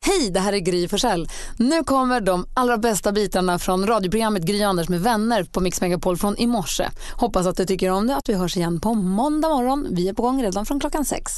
Hej, det här är Gry Forssell. Nu kommer de allra bästa bitarna från radioprogrammet Gry Anders med vänner på Mix Megapol från i morse. Hoppas att du tycker om det att vi hörs igen på måndag morgon. Vi är på gång redan från klockan sex.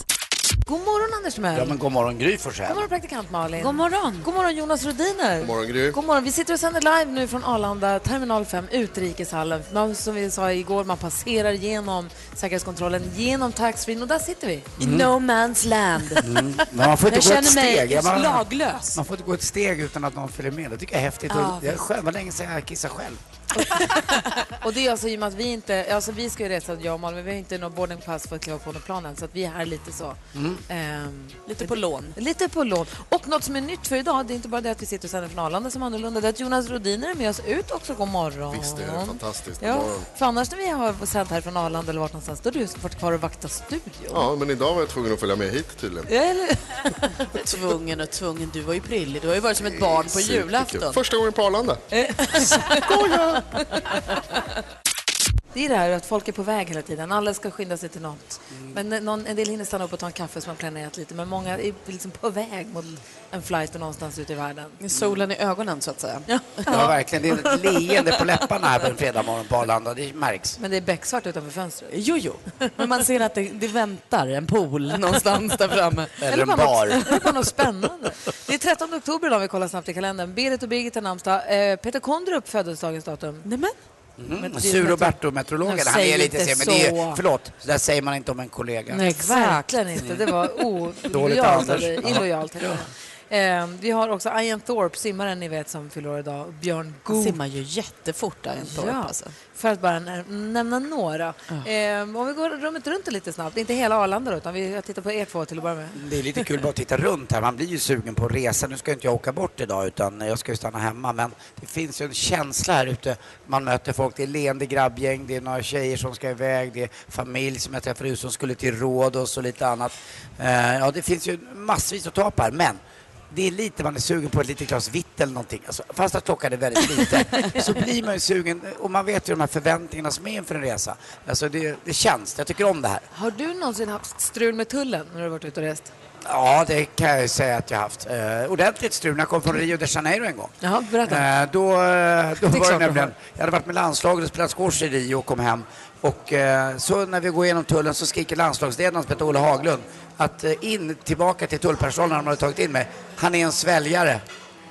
God morgon Anders Mell. Ja, men god morgon Gry God Forssell. morgon praktikant Malin. God morgon. God morgon Jonas Rodiner. God morgon, Gry. God morgon. Vi sitter och sänder live nu från Arlanda terminal 5, utrikeshallen. Man, som vi sa igår, man passerar genom säkerhetskontrollen, genom taxfree och där sitter vi. Mm. no man's land. Mm. Men man får inte Jag gå ett känner mig steg. Ja, man, laglös. Man får inte gå ett steg utan att någon följer med. Det tycker jag är häftigt. Ja, och jag visst. själv, var länge sedan jag kissade själv. Och det är alltså i och med att vi inte, alltså vi ska ju resa, jag och Malin, men vi har inte någon boarding pass för att kliva på någon plan än, så att vi är här lite så. Mm. lite på lån. Lite på lån. Och något som är nytt för idag, det är inte bara det att vi sitter och sänder från Arlanda som är annorlunda, det är att Jonas Rodiner är med oss ut också. God morgon. Visst är det fantastiskt. Ja, Morgon. för annars när vi har sänt här från Arlanda eller vart någonstans, då har du varit kvar och vaktat studion. Ja, men idag var jag tvungen att följa med hit tydligen. Ja, Eller? Tvungen och tvungen, du var ju prillig. Du har ju varit som ett barn på Superkul. julafton. Första gången på Arlanda. Eh. Skoja! Det är det här att folk är på väg hela tiden. Alla ska skynda sig till något. Mm. Men någon, en del hinner stanna upp och ta en kaffe som man planerat lite. Men många är liksom på väg mot en flight någonstans ute i världen. Solen i ögonen, så att säga. Det var verkligen det är ett leende på läpparna här på en fredagmorgon på Arlanda. Det märks. Men det är becksvart utanför fönstret. Jo, jo. Men man ser att det, det väntar en pool någonstans där framme. Eller en bara bar. Något, eller bara något spännande. Det är 13 oktober idag, vi kollar snabbt i kalendern. Berit och Birgit har namnsdag. Eh, Peter Kondrup föddes dagens datum. Nej, men. Men det- Mm. Sur Roberto, meteorologen, Jag han säger är lite inte sen. Men det är så. ju, förlåt, så där säger man inte om en kollega. Nej, exakt. Verkligen inte. Det var Dåligt olojalt. Anders. eller Ja. Illojalt. heter det. Eh, vi har också Ian Thorpe, simmaren ni vet som fyller år idag. Björn Han Goop. simmar ju jättefort där en torp, Ja, alltså. för att bara näm- nämna några. Eh, om vi går rummet runt det lite snabbt, inte hela Arlanda då, utan vi, jag tittar på er två till att börja med. Det är lite kul bara att titta runt här. Man blir ju sugen på att resa. Nu ska inte jag åka bort idag utan jag ska ju stanna hemma. Men det finns ju en känsla här ute. Man möter folk. Det är leende grabbgäng. Det är några tjejer som ska iväg. Det är familj som jag träffade ut som skulle till Rhodos och lite annat. Eh, Ja, det finns ju massvis att ta på här. Men det är lite man är sugen på ett litet glas vitt eller någonting. Alltså, fast att klockan är väldigt liten så blir man ju sugen. Och man vet ju de här förväntningarna som är inför en resa. Alltså det, det känns. Jag tycker om det här. Har du någonsin haft strul med tullen när du har varit ute och rest? Ja, det kan jag ju säga att jag haft. Eh, ordentligt strul när jag kom från Rio de Janeiro en gång. Ja, berätta. Eh, då eh, då Det är klart var du det nämligen, har. jag hade varit med landslaget och spelat squash i Rio och kom hem. Och eh, så när vi går igenom tullen så skriker landslagsledaren som heter Olle Haglund att eh, in tillbaka till tullpersonalen när de hade tagit in mig. Han är en sväljare.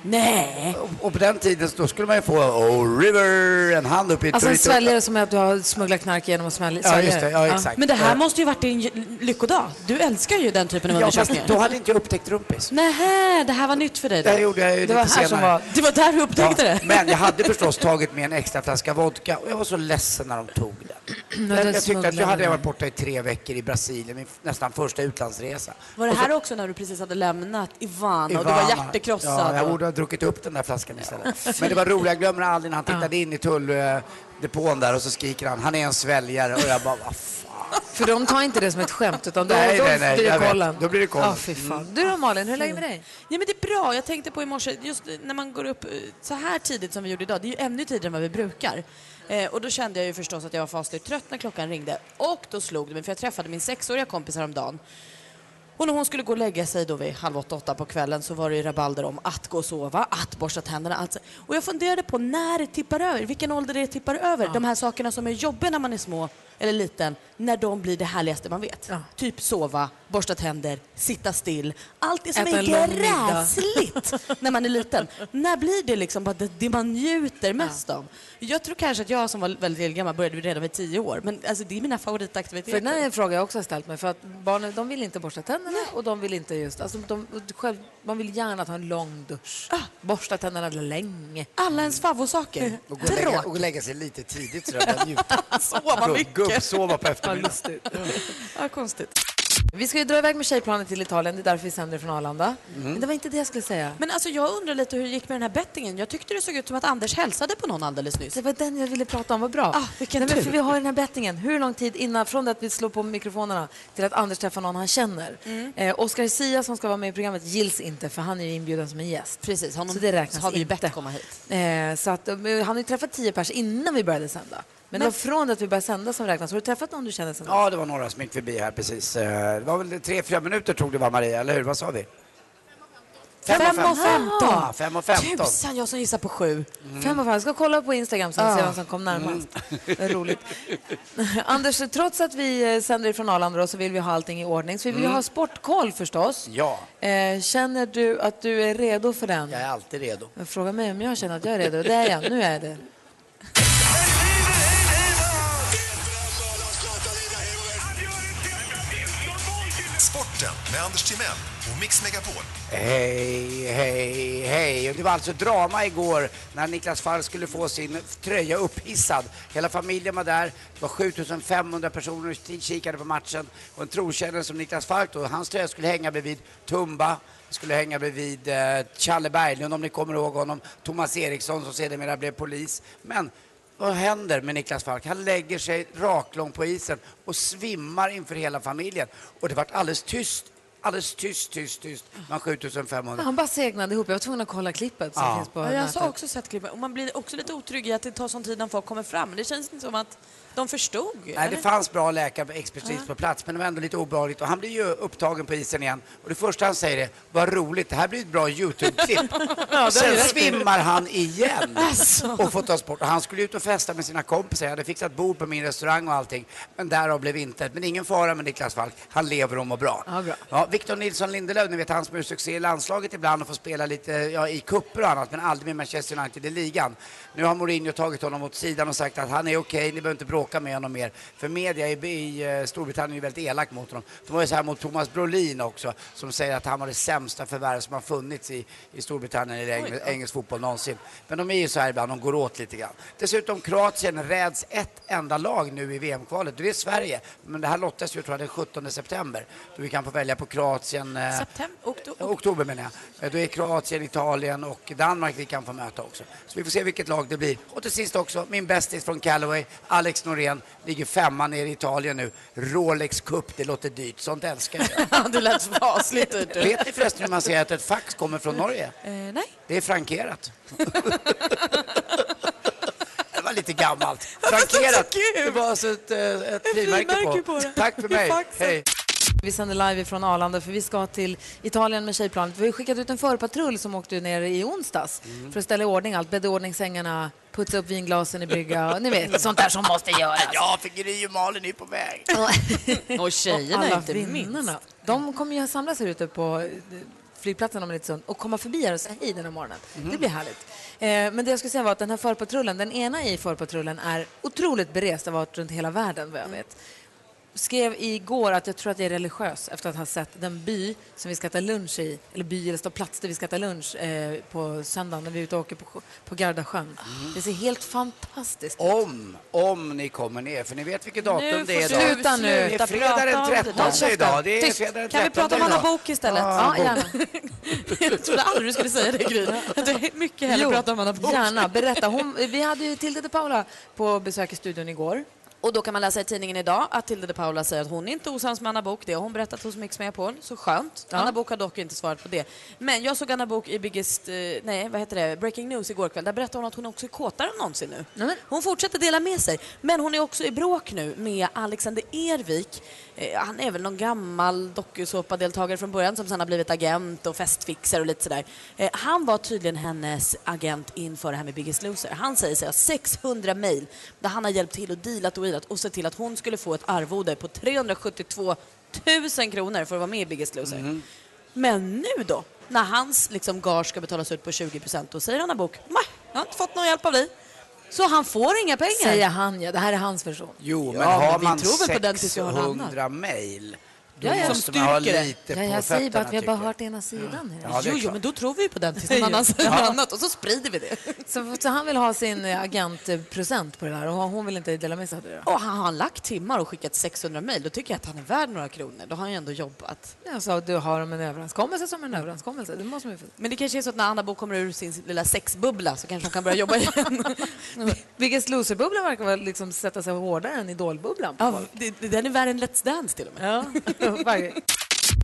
Nej! Och, och på den tiden då skulle man ju få oh, river, en hand upp i Alltså en torito- sväljare som är att du har smugglat knark genom att smälla Ja, just det. Ja, exakt. Men det Eh, här måste ju varit din j- lyckodag. Du älskar ju den typen av ja, fast då undersökningar. hade inte jag upptäckt rumpis. Nej, det här var nytt för dig. Det här Då. gjorde jag ju Det lite var här senare. som var... Det var där du upptäckte Ja, det. Men jag hade förstås tagit med en extra flaska vodka och jag var så ledsen när de tog den. det Jag, jag tyckte att jag smugglar hade man. varit borta i tre veckor i Brasilien, min f- nästan första utlandsresa. Var det här också när du precis hade lämnat Ivana och du var Ivana. hjärtekrossad? Ja, jag och- borde ha druckit upp den där flaskan istället. Men det var roligt, jag glömmer aldrig när han tittade in i tulldepån där och så skriker han, han är en sväljare och jag bara, vad fan. För de tar inte det som ett skämt, utan då, Nej, då, nej, nej, blir jag det vet. kollen. Då blir det kollen. Mm. Ja, fy fan. Du då Malin, hur är läget med dig? Ja, men det är bra. Jag tänkte på i morse, just när man går upp eh, så här tidigt som vi gjorde idag, det är ju ännu tidigare än vad vi brukar. Eh, och då kände jag ju förstås att jag var fasligt trött när klockan ringde. Och då slog det mig, för jag träffade min sexåriga kompis häromdagen. Och när hon skulle gå och lägga sig då vid halv åtta, åtta på kvällen så var det ju rabalder om att gå och sova, att borsta tänderna. Alltså. Och jag funderade på när det tippar över, vilken ålder det tippar över. De här sakerna som är jobbiga när man är små eller liten, när de blir det härligaste man vet. Ja. Typ sova, borsta tänder, sitta still. Allt det som Äta är en lång middag. gräsligt när man är liten. När blir det liksom bara det, det man njuter mest av? Jag tror kanske att jag som var väldigt gammal började redan vid tio år, men alltså, det är mina favoritaktiviteter. För den här är en fråga jag också har ställt mig. För att barnen de vill inte borsta tänderna och de vill inte just... Alltså de, själv, man vill gärna ta en lång dusch. Borsta tänderna länge. Alla ens favvosaker. Och gå och lägga, och lägga sig lite tidigt så där, njuta. Sova mycket. Gubbsova på eftermiddagen. Ja, konstigt. Vi ska ju dra iväg med tjejplanet till Italien. Det är därför vi sänder från Arlanda. Mm. Men det var inte det jag skulle säga. Men alltså, jag undrar lite hur det gick med den här bettingen. Jag tyckte det såg ut som att Anders hälsade på någon alldeles nyss. Det var den jag ville prata om, vad bra. Ah, vilken Nej, men tur. för vi har ju den här bettingen. Hur lång tid innan, från det att vi slår på mikrofonerna till att Anders träffar någon han känner. Mm. Eh, Oscar Sia som ska vara med i programmet gills inte för han är ju inbjuden som en gäst. Precis, honom så det räknas har vi ju inte. bett komma hit. Eh, så att, eh, han har ju träffat tio pers innan vi började sända. Men, det var från det att vi började sända som räknas. Har du träffat någon du känner sen? Ja, det var några som gick förbi här precis. Eh, Det var väl tre, fyra minuter tog det var Maria, eller hur? Vad sa vi? Fem och Fem och femton. femton. Ja, fem och femton. Tusan, jag som gissar på sju. Mm. Fem och fem. Jag ska kolla på Instagram sen och se vem som kom närmast. Det är Roligt. Anders, trots att vi eh, sänder ifrån Arlanda då, så vill vi ha allting i ordning. Så vi vill ju ha sportkoll förstås. Ja. Eh, känner du att du är redo för den? Jag är alltid redo. Fråga mig om jag känner att jag är redo. Det är jag. Nu är det. Sporten med Anders Timell och Mix Megapol. Hej, hej, hej. Och Det var alltså drama igår när Niklas Fall skulle få sin tröja upphissad. Hela familjen var där. Det var 7500 personer som kikade på matchen. Och en trotjänare som Niklas Falk då, hans tröja skulle hänga bredvid Tumba, skulle hänga bredvid eh, Challe Berglund om ni kommer ihåg honom, Thomas Eriksson som sedermera blev polis. Men vad händer med Niklas Falk? Han lägger sig raklång på isen och svimmar inför hela familjen. Och det vart alldeles tyst Alldeles tyst, tyst, tyst. Man 7500. Han bara segnade ihop. Jag var tvungen att kolla klippet som Ja. finns på Ja, jag har nätet. också sett klippet. Och man blir också lite otrygg i att det tar sån tid när folk kommer fram. Det känns inte som att de förstod. Nej, eller? det fanns bra läkare, expertis på plats, men det var ändå lite obehagligt. Och han blir ju upptagen på isen igen. Och det första han säger är, vad roligt, det här blir ett bra YouTube-klipp. Och Sen svimmar han igen Alltså. och får tas bort. Och han skulle ut och festa med sina kompisar. Jag hade fixat bord på min restaurang och allting. Men därav blev intet. Men ingen fara med Niklas Falk. Han lever och mår bra. Ja, bra. Ja, Victor Nilsson Lindelöf, ni vet han som gör succé i landslaget ibland och får spela lite ja, i kupper och annat, men aldrig med Manchester United i ligan. Nu har Mourinho tagit honom åt sidan och sagt att han är okej, ni behöver inte bråka med honom mer. För media i, i eh, Storbritannien är ju väldigt elak mot honom. De var ju så här mot Thomas Brolin också, som säger att han var det sämsta förvärv som har funnits i, i Storbritannien eller Engl- engelsk fotboll någonsin. Men de är ju så här ibland, de går åt lite grann. Dessutom Kroatien räds ett enda lag nu i VM-kvalet och det är Sverige. Men det här lottas ju tror jag den 17 september. Då vi kan få välja på Kroatien... eh, September, oktober. eh, Oktober menar jag. Eh, Då är Kroatien, Italien och Danmark vi kan få möta också. Så vi får se vilket lag det blir. Och till sist också, min bästis från Callaway, Alex Norén, ligger femma nere i Italien nu. Rolex Cup, det låter dyrt. Sånt älskar jag. det lät fasligt dyrt. eh, Vet ni förresten hur man säger att ett fax kommer från Norge? Eh, nej. Det är frankerat. Det var lite gammalt. så Frankerat. kul! Det var alltså ett, eh, ett frimärke frimärke på. på det. Tack för I mig. faxen. Hej. Vi sänder live från Arlanda för vi ska till Italien med tjejplanet. Vi har ju skickat ut en förpatrull som åkte ner i onsdags för att ställa i ordning allt. Bädda i ordning sängarna, putsa upp vinglasen i brygga och ni vet, sånt där som måste göras. Ja, för Gry och Malin är på väg. Och och tjejerna alla inte minst. vinnarna. De kommer ju samlas här ute på eh, flygplatsen om en liten stund och komma förbi här och säga hej den här morgonen. Mhm. Det blir härligt. Eh, men det jag skulle säga var att den här förpatrullen, den ena i förpatrullen är otroligt berest, har varit runt hela världen Mm. vad jag vet. Skrev igår att jag tror att jag är religiös efter att ha sett den by som vi ska äta lunch i, eller by eller stå plats där vi ska äta lunch eh, på söndagen när vi är ute och åker på, på Gardasjön. Mm. Det ser helt fantastiskt ut. Om, om ni kommer ner, för ni vet vilket datum det är får idag. du Sluta nu. Det är fredag prata den om det där. 13 käften. idag. Det är Tyst. fredag den 13 Kan vi prata om Anna idag. Bok istället? Ja, gärna. Jag trodde aldrig du skulle säga det, Gry. Att du mycket hellre pratar om Anna Bok. Gärna, berätta. Hon, vi hade ju Tilde de Paula på besök i studion igår. Och då kan man läsa i tidningen idag att Tilde de Paula säger att hon är inte osams med Anna Bok. Det har hon berättat hos Mix Megapol, så skönt. Anna Bok har dock inte svarat på det. Men jag såg Anna Bok i Biggest, eh, nej vad heter det, Breaking News igår kväll. Där berättade hon att hon också är kåtare än någonsin nu. Nej, men- Hon fortsätter dela med sig. Men hon är också i bråk nu med Alexander Ervik. Eh, han är väl någon gammal dokusåpadeltagare från början som sen har blivit agent och festfixare och lite sådär. Eh, han var tydligen hennes agent inför det här med Biggest Loser. Han säger sig ha 600 mejl där han har hjälpt till och dealat och dealat och sett till att hon skulle få ett arvode på 372 000 kronor för att vara med i Biggest Loser. Men nu då, när hans liksom gage ska betalas ut på 20 procent, då säger Anna Bok, "Nej, jag har inte fått någon hjälp av dig. Så han får inga pengar. Säger han, ja. Det här är hans version. Jo, men Ja, men har vi man tror väl på den tills vi har någon 600 mejl, då Ja, ja. måste Som man ha styrker det. lite Ja, på jag säger bara att vi har bara tycker jag. hört ena sidan. här. Ja, det är jo, jo, klart. men då tror vi ju på den tills någon annan säger något annat och så sprider vi det. Så, så han vill ha sin eh, agentprocent på det där och hon vill inte dela med sig av det. Då. Och har han lagt timmar och skickat 600 mejl, då tycker jag att han är värd några kronor. Då har han ju ändå jobbat. Jag sa, du har om en överenskommelse som en överenskommelse. Det måste man ju få. Men det kanske är så att när Anna Bo kommer ur sin lilla sexbubbla så kanske hon kan börja jobba igen. Biggest Loser-bubblan verkar väl liksom sätta sig hårdare än Idol-bubblan. på ja, folk. det, det- den är värre än Let's Dance till och med. Ja. Verkligen.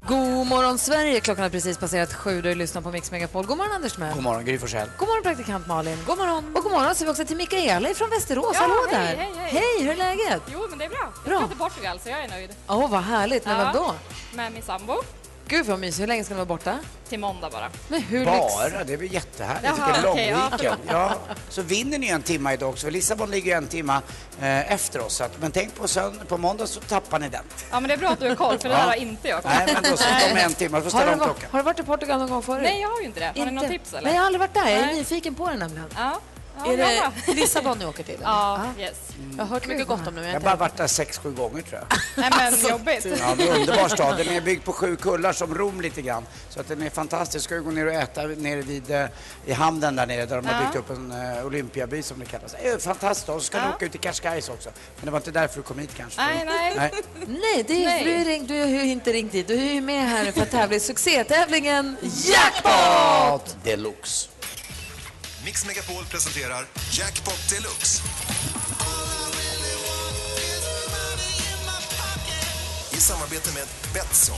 God morgon Sverige, klockan har precis passerat sju. Du lyssnar på Mix Megapol. God morgon Anders Mell. God morgon, Gry Forssell. God morgon praktikant Malin. God morgon. Och god morgon säger vi också till Mikaela från Västerås. Hallå hej, där. hej, hej. hur är läget? Jo, men det är bra. Bra. Jag ska till Portugal så jag är nöjd. Åh, vad härligt. Men Ja. vem då? Med min sambo. Gud vad mysigt. Hur länge ska ni vara borta? Till måndag bara. Men hur lyx... Bara? Det blir jättehärligt. Jaha, Vilken lång okej, ja, weekend. Ja, så vinner ni en timme idag också, för Lissabon ligger ju en timme eh, efter oss. Så att, men tänk på sönd- på måndag så tappar ni den. Ja, men det är bra att du har koll, för det där har inte jag koll Nej, men då så kommer en timme, då får Har ställa du, om va- klockan. har du varit i Portugal någon gång förut? Nej, jag har ju inte det. Har ni något tips eller? Nej, jag har aldrig varit där. Jag är Nej. nyfiken på det nämligen. Ja. Ja, Är jag det bara. Lissabon ni åker till? eller? Ja, yes. Jag har hört mycket gott om det, men Jag har jag har bara inte... varit där sex, sju gånger tror jag. Nej, men jobbigt. Ja, det är en underbar stad. Den är byggd på sju kullar som Rom lite grann. Så att den är fantastisk. Ska du gå ner och äta nere vid, eh, i hamnen där nere där de har Ja. byggt upp en eh, olympiaby som det kallas. Eh, Fantastiskt. Och så ska du Ja. åka ut till Cascais också. Men det var inte därför du kom hit kanske? Nej, nej. Nej, det är, Nej. Du, är ringt, du har ju inte ringt dit. Du är ju med här för att tävla i succétävlingen Jackpot deluxe. Mix Megapol presenterar Jackpot Deluxe. I samarbete med Betsson.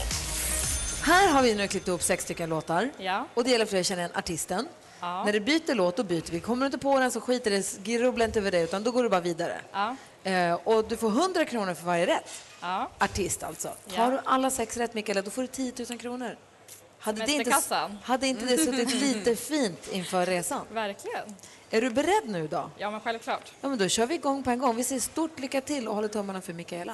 Här har vi nu klippt ihop sex stycken låtar. Ja. Och det gäller för dig att känna igen artisten. Ja. När du byter låt, då byter vi. Kommer du inte på den så skiter det, grubbla inte över det, utan då går du bara vidare. Ja. Eh, och du får 100 kronor för varje rätt. Ja. Artist alltså. Ja. Har du alla sex rätt, Mikaela, då får du 10 000 kronor. Hade det, inte, Semesterkassan. hade inte det suttit lite fint inför resan? Verkligen. Är du beredd nu då? Ja, men självklart. Ja, men då kör vi igång på en gång. Vi säger stort lycka till och håller tummarna för Mikaela.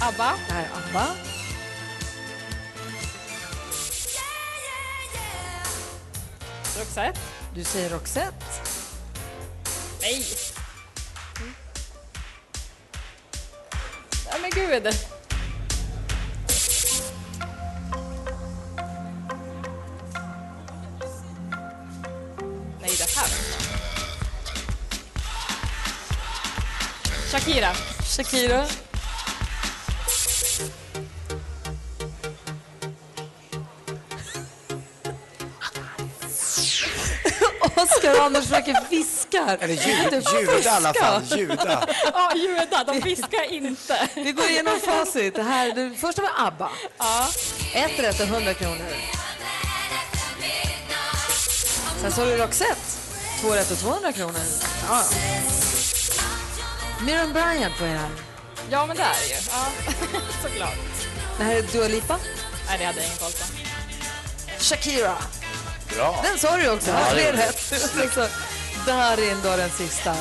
ABBA. Det här är Abba. Roxette. Du säger Roxette. Nej. Mm. Nej, men gud. Nej, det här. Shakira. Shakira. Oskar och Anders försöker viska. Eller ljud, ljud i alla fall. Ljuda. Ja, ljuda. De viskar inte. Vi går igenom facit. Det här, det första var ABBA. Ett rätt och 100 kronor. Sen så har du Roxette. Två rätt och 200 kronor. Ja. Miriam Bryant på er här. Ja, men det är det ju. Ja, såklart. Det här är Dua Lipa. Nej, det hade jag ingen koll på. Shakira. Bra. Den sa du ju också. Ja, det är rätt. Alltså, Darin då den sista.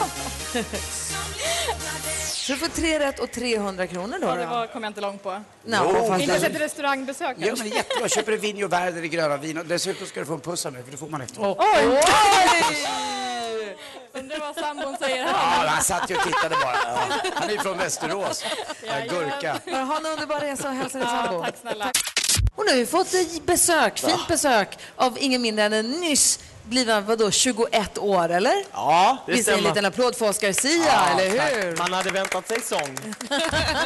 Så du får tre rätt och 300 kronor då. Ja, det då. var, kom jag inte långt på. Nej, Jo, fast Inte ens den- ett restaurangbesök Ja, men det kanske. är jättebra. Köper du Vigno Werder i gröna vin. Och dessutom ska du få en puss av mig, för det får man efter. Oj! Undrar vad sambon säger Ja, här. han satt ju och tittade bara. Ja. Han är ju från Västerås. Ja, gurka. Bara Ha en underbar resa och hälsa din sambo. Tack snälla. Och nu har vi fått ett besök, fint besök av ingen mindre än en nyss blivna, vadå, 21 år eller? Ja, det Vi säger en stämmer. liten applåd för Oscar Sia, eller hur? Tack. Man hade väntat sig sång.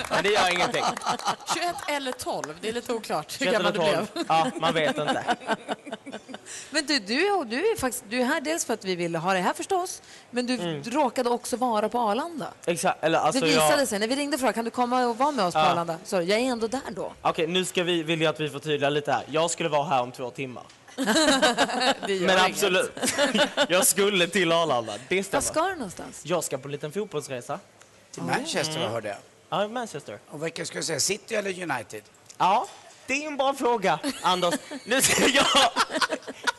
Men det gör ingenting. 21 eller 12, det är lite oklart hur 21 gammal eller du 12. blev. Ja, man vet inte. Men du, du, och du är faktiskt du är här dels för att vi ville ha det här förstås, men du råkade också vara på Arlanda. Exakt, eller Mm. alltså det visade jag... sig, när vi ringde och frågade kan du komma och vara med oss på Arlanda, så jag är ändå där då. Okej, nu ska vi, vill jag att vi förtydligar lite här. Jag skulle vara här om två timmar. Det gör Men inget. absolut. Jag skulle till Arlanda. Det Var stämmer. ska du någonstans? Jag ska på en liten fotbollsresa. Till Manchester, vad hörde jag. Ja, i Manchester. Och vilka ska jag säga? City eller United? Ja, det är en bra fråga, Anders. Nu ska jag...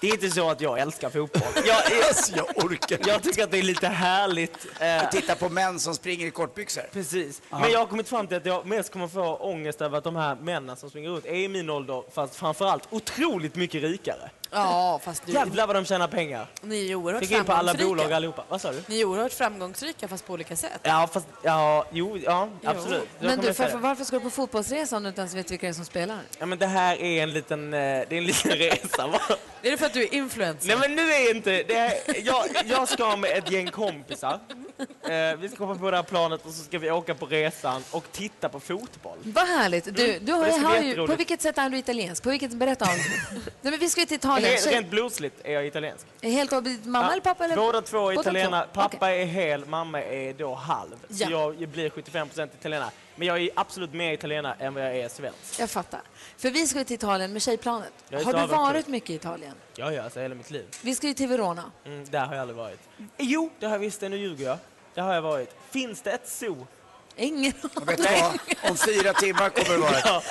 Det är inte så att jag älskar fotboll. Jag, är, Alltså, jag orkar inte. jag tycker att det är lite härligt. eh, Titta på män som springer i kortbyxor. Precis. Men jag har kommit fram till att jag mest kommer få ångest över att de här männen som springer runt är i min ålder, fast framförallt otroligt mycket rikare. Ja, fast du, Jävlar vad de tjänar pengar. ni är ju oerhört Fick in på alla bolag framgångsrika. allihopa. Vad sa du? Ni är oerhört framgångsrika, fast på olika sätt. Ja, fast, ja, jo, ja, absolut. Då Men kommer du, jag säga för, det. varför ska du på fotbollsresa om du inte ens vet vilka det är som spelar? Ja, men det här är en liten, eh, det är en liten resa. va? Är det för att du är influencer? Nej, men nu är inte... Det här, jag, jag ska med ett gäng kompisar. Eh, vi ska hoppa på det här planet och så ska vi åka på resan och titta på fotboll. Vad härligt! Du, du har, Mm. Det ska bli har ju, jätteroligt. på vilket sätt är du italiensk? På vilket, berätta om Nej, men vi ska ju till Italien. Rent, rent blodsligt är jag italiensk. Helt av mamma eller pappa? Eller? Ah, Båda två är Båda italienare. två? Pappa Okej. är hel, mamma är då halv. Så Ja. jag blir 75% italienare. Men jag är absolut mer italienare än vad jag är svensk. Jag fattar. För vi ska ju till Italien med tjejplanet. Jag är Har så du avundsjuk. varit mycket i Italien? Ja, ja, alltså hela mitt liv. Vi ska ju till Verona. Mm, där har jag aldrig varit. Jo, det har jag visst. Nu ljuger jag. Det har jag varit. Finns det ett zoo? Ingen Och vet du vad? Om fyra timmar kommer det vara...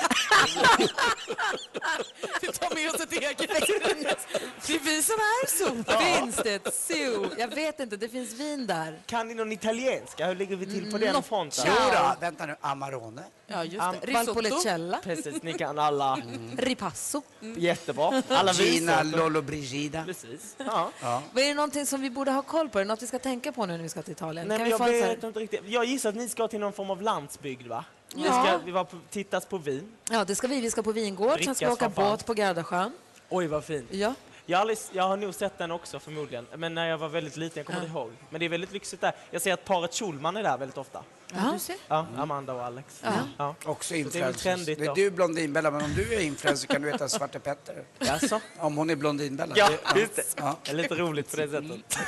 Vi tar med oss ett eget. Det är vi som är zoo. Finns det ett zoo? Jag vet inte, det finns vin där. Kan ni någon italienska? Hur ligger vi till på den fronten? Jodå, vänta nu. Amarone. Ja, just det. Risotto. Mm. Valpolicella, Precis, ni kan alla. Mm. ripasso. Jättebra. Alla Gina visor. Lollobrigida. Precis. Ja. Vad är det någonting som vi borde ha koll på? Är det något vi ska tänka på nu när vi ska till Italien? Nej, kan men vi jag, få en sån vet här... inte riktigt. jag gissar att ni ska till någon form av landsbygd, va? Det Ja. ska, vi var på, tittas på vin. Ja, det ska vi. Vi ska på vingård, sen ska vi Drickas åka som fan. båt på Gardasjön. Oj, vad fint. Ja. Jag har, aldrig, jag har nog sett den också förmodligen, men när jag var väldigt liten, jag kommer inte ihåg. Men det är väldigt lyxigt där. Jag ser att paret Schulman är där väldigt ofta. Ja, du ser. Ja, Amanda och Alex. Ja. Ja. Också det är väl influencers. Det är, trendigt då. du Blondinbella, men om du är influencer kan du heta Svarte Petter. Jaså? Om hon är Blondinbella. Ja, Det- just det. Ja. Det är lite roligt på det sättet.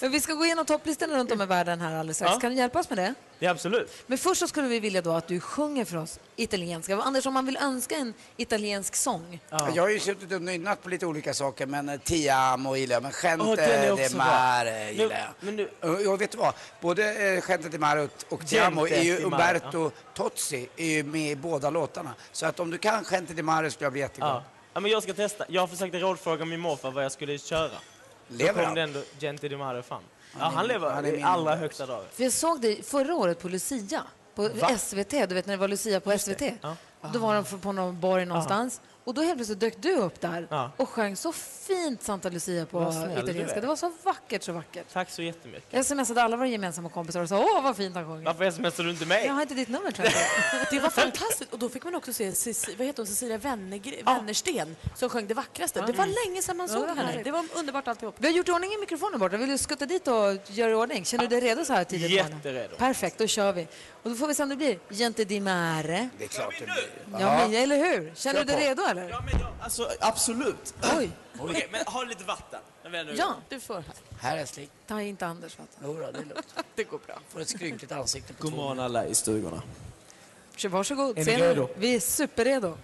Men vi ska gå igenom topplistorna runt om i världen här alldeles strax. Ja. Kan du hjälpa oss med det? Ja, absolut. Men först så skulle vi vilja då att du sjunger för oss italienska. Anders, om man vill önska en italiensk sång. Jag har ju suttit och nynnat på lite olika saker, men eh, Ti amo gillar jag, men Åh, den är Gente de också bra. Mare gillar Nu- jag. men nu- Och- och vet du vad? Både eh, Gente de Mare och, och Ti amo Gente är ju di Mare, Umberto Tozzi är ju med i båda låtarna. Så att om du kan Gente de Mare skulle jag bli jätteglad. Ja. ja, men jag ska testa. Jag försökte rådfråga min morfar vad jag skulle köra. Då Lever kom han? det ändå Genti Di Mare fram. Ja, han han lever är i min- allra högsta dag. För jag såg dig förra året på Lucia, på SVT, du vet när det var Lucia på SVT. Då var de på någon borg någonstans och då helt plötsligt dök du upp där Ja. och sjöng så fint Santa Lucia på Vad snäll du italienska. är. Det var så vackert, så vackert. Tack så jättemycket. Jag smsade alla våra gemensamma kompisar och sa åh vad fint han sjunger. Varför smsar du inte Jag mig? har inte ditt nummer tror jag. Det var fantastiskt. Och då fick man också se Ceci- vad heter hon? Cecilia Wennergren- Wennersten som sjöng det vackraste. Det var länge sedan man såg henne. Det var underbart alltihop. Vi har gjort i ordning i mikrofonen borta. Vill du skutta dit och göra i ordning? Känner du dig redo så här tidigt? på morgonen? Jätteredo. Perfekt, då kör vi. Och då får vi se om det blir Gente di Mare. Det är klart det blir. Ja, men, eller hur? Känner du dig redo eller? men jag, alltså, absolut. Oj. Okej, men ha lite vatten. Jag vet inte. Ja, Du får här. Här älskling. ta inte Anders. Vet Jodå, det är lugnt. Det går bra. Får ett skrynkligt ansikte på God två morgon alla i stugorna. du. Varsågod. Är ni Ser ni? redo? Vi är superredo.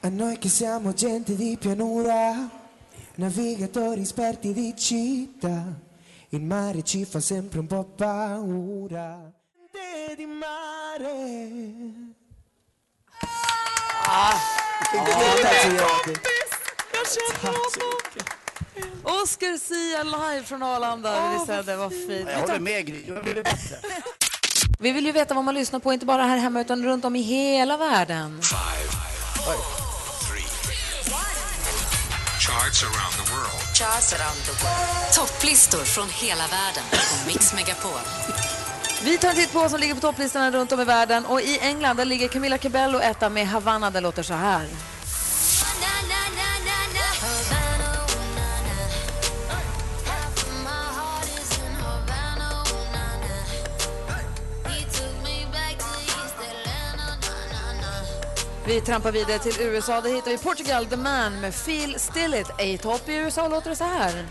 A noi che siamo gente di pianura, navigatori esperti di città, il mare ci fa sempre un po' paura. Gente Di mare. Oscar Sia live från Arlanda. vi säger, vad fint. Jag håller med Gry, du har blivit bättre. Vi vill ju veta vad man lyssnar på, inte bara här hemma utan runt om i hela världen. Five, four, three. Charts around the world. Charts around the world. Topplistor från hela världen på Mix Megapol. Vi tar en titt på vad som ligger på topplistorna runt om i världen. Och i England där ligger Camilla Cabello etta med Havana. Det låter så här. Vi trampar vidare till USA. Där hittar vi Portugal, The Man med Phil Stillett. Ej topp i USA låter det så här.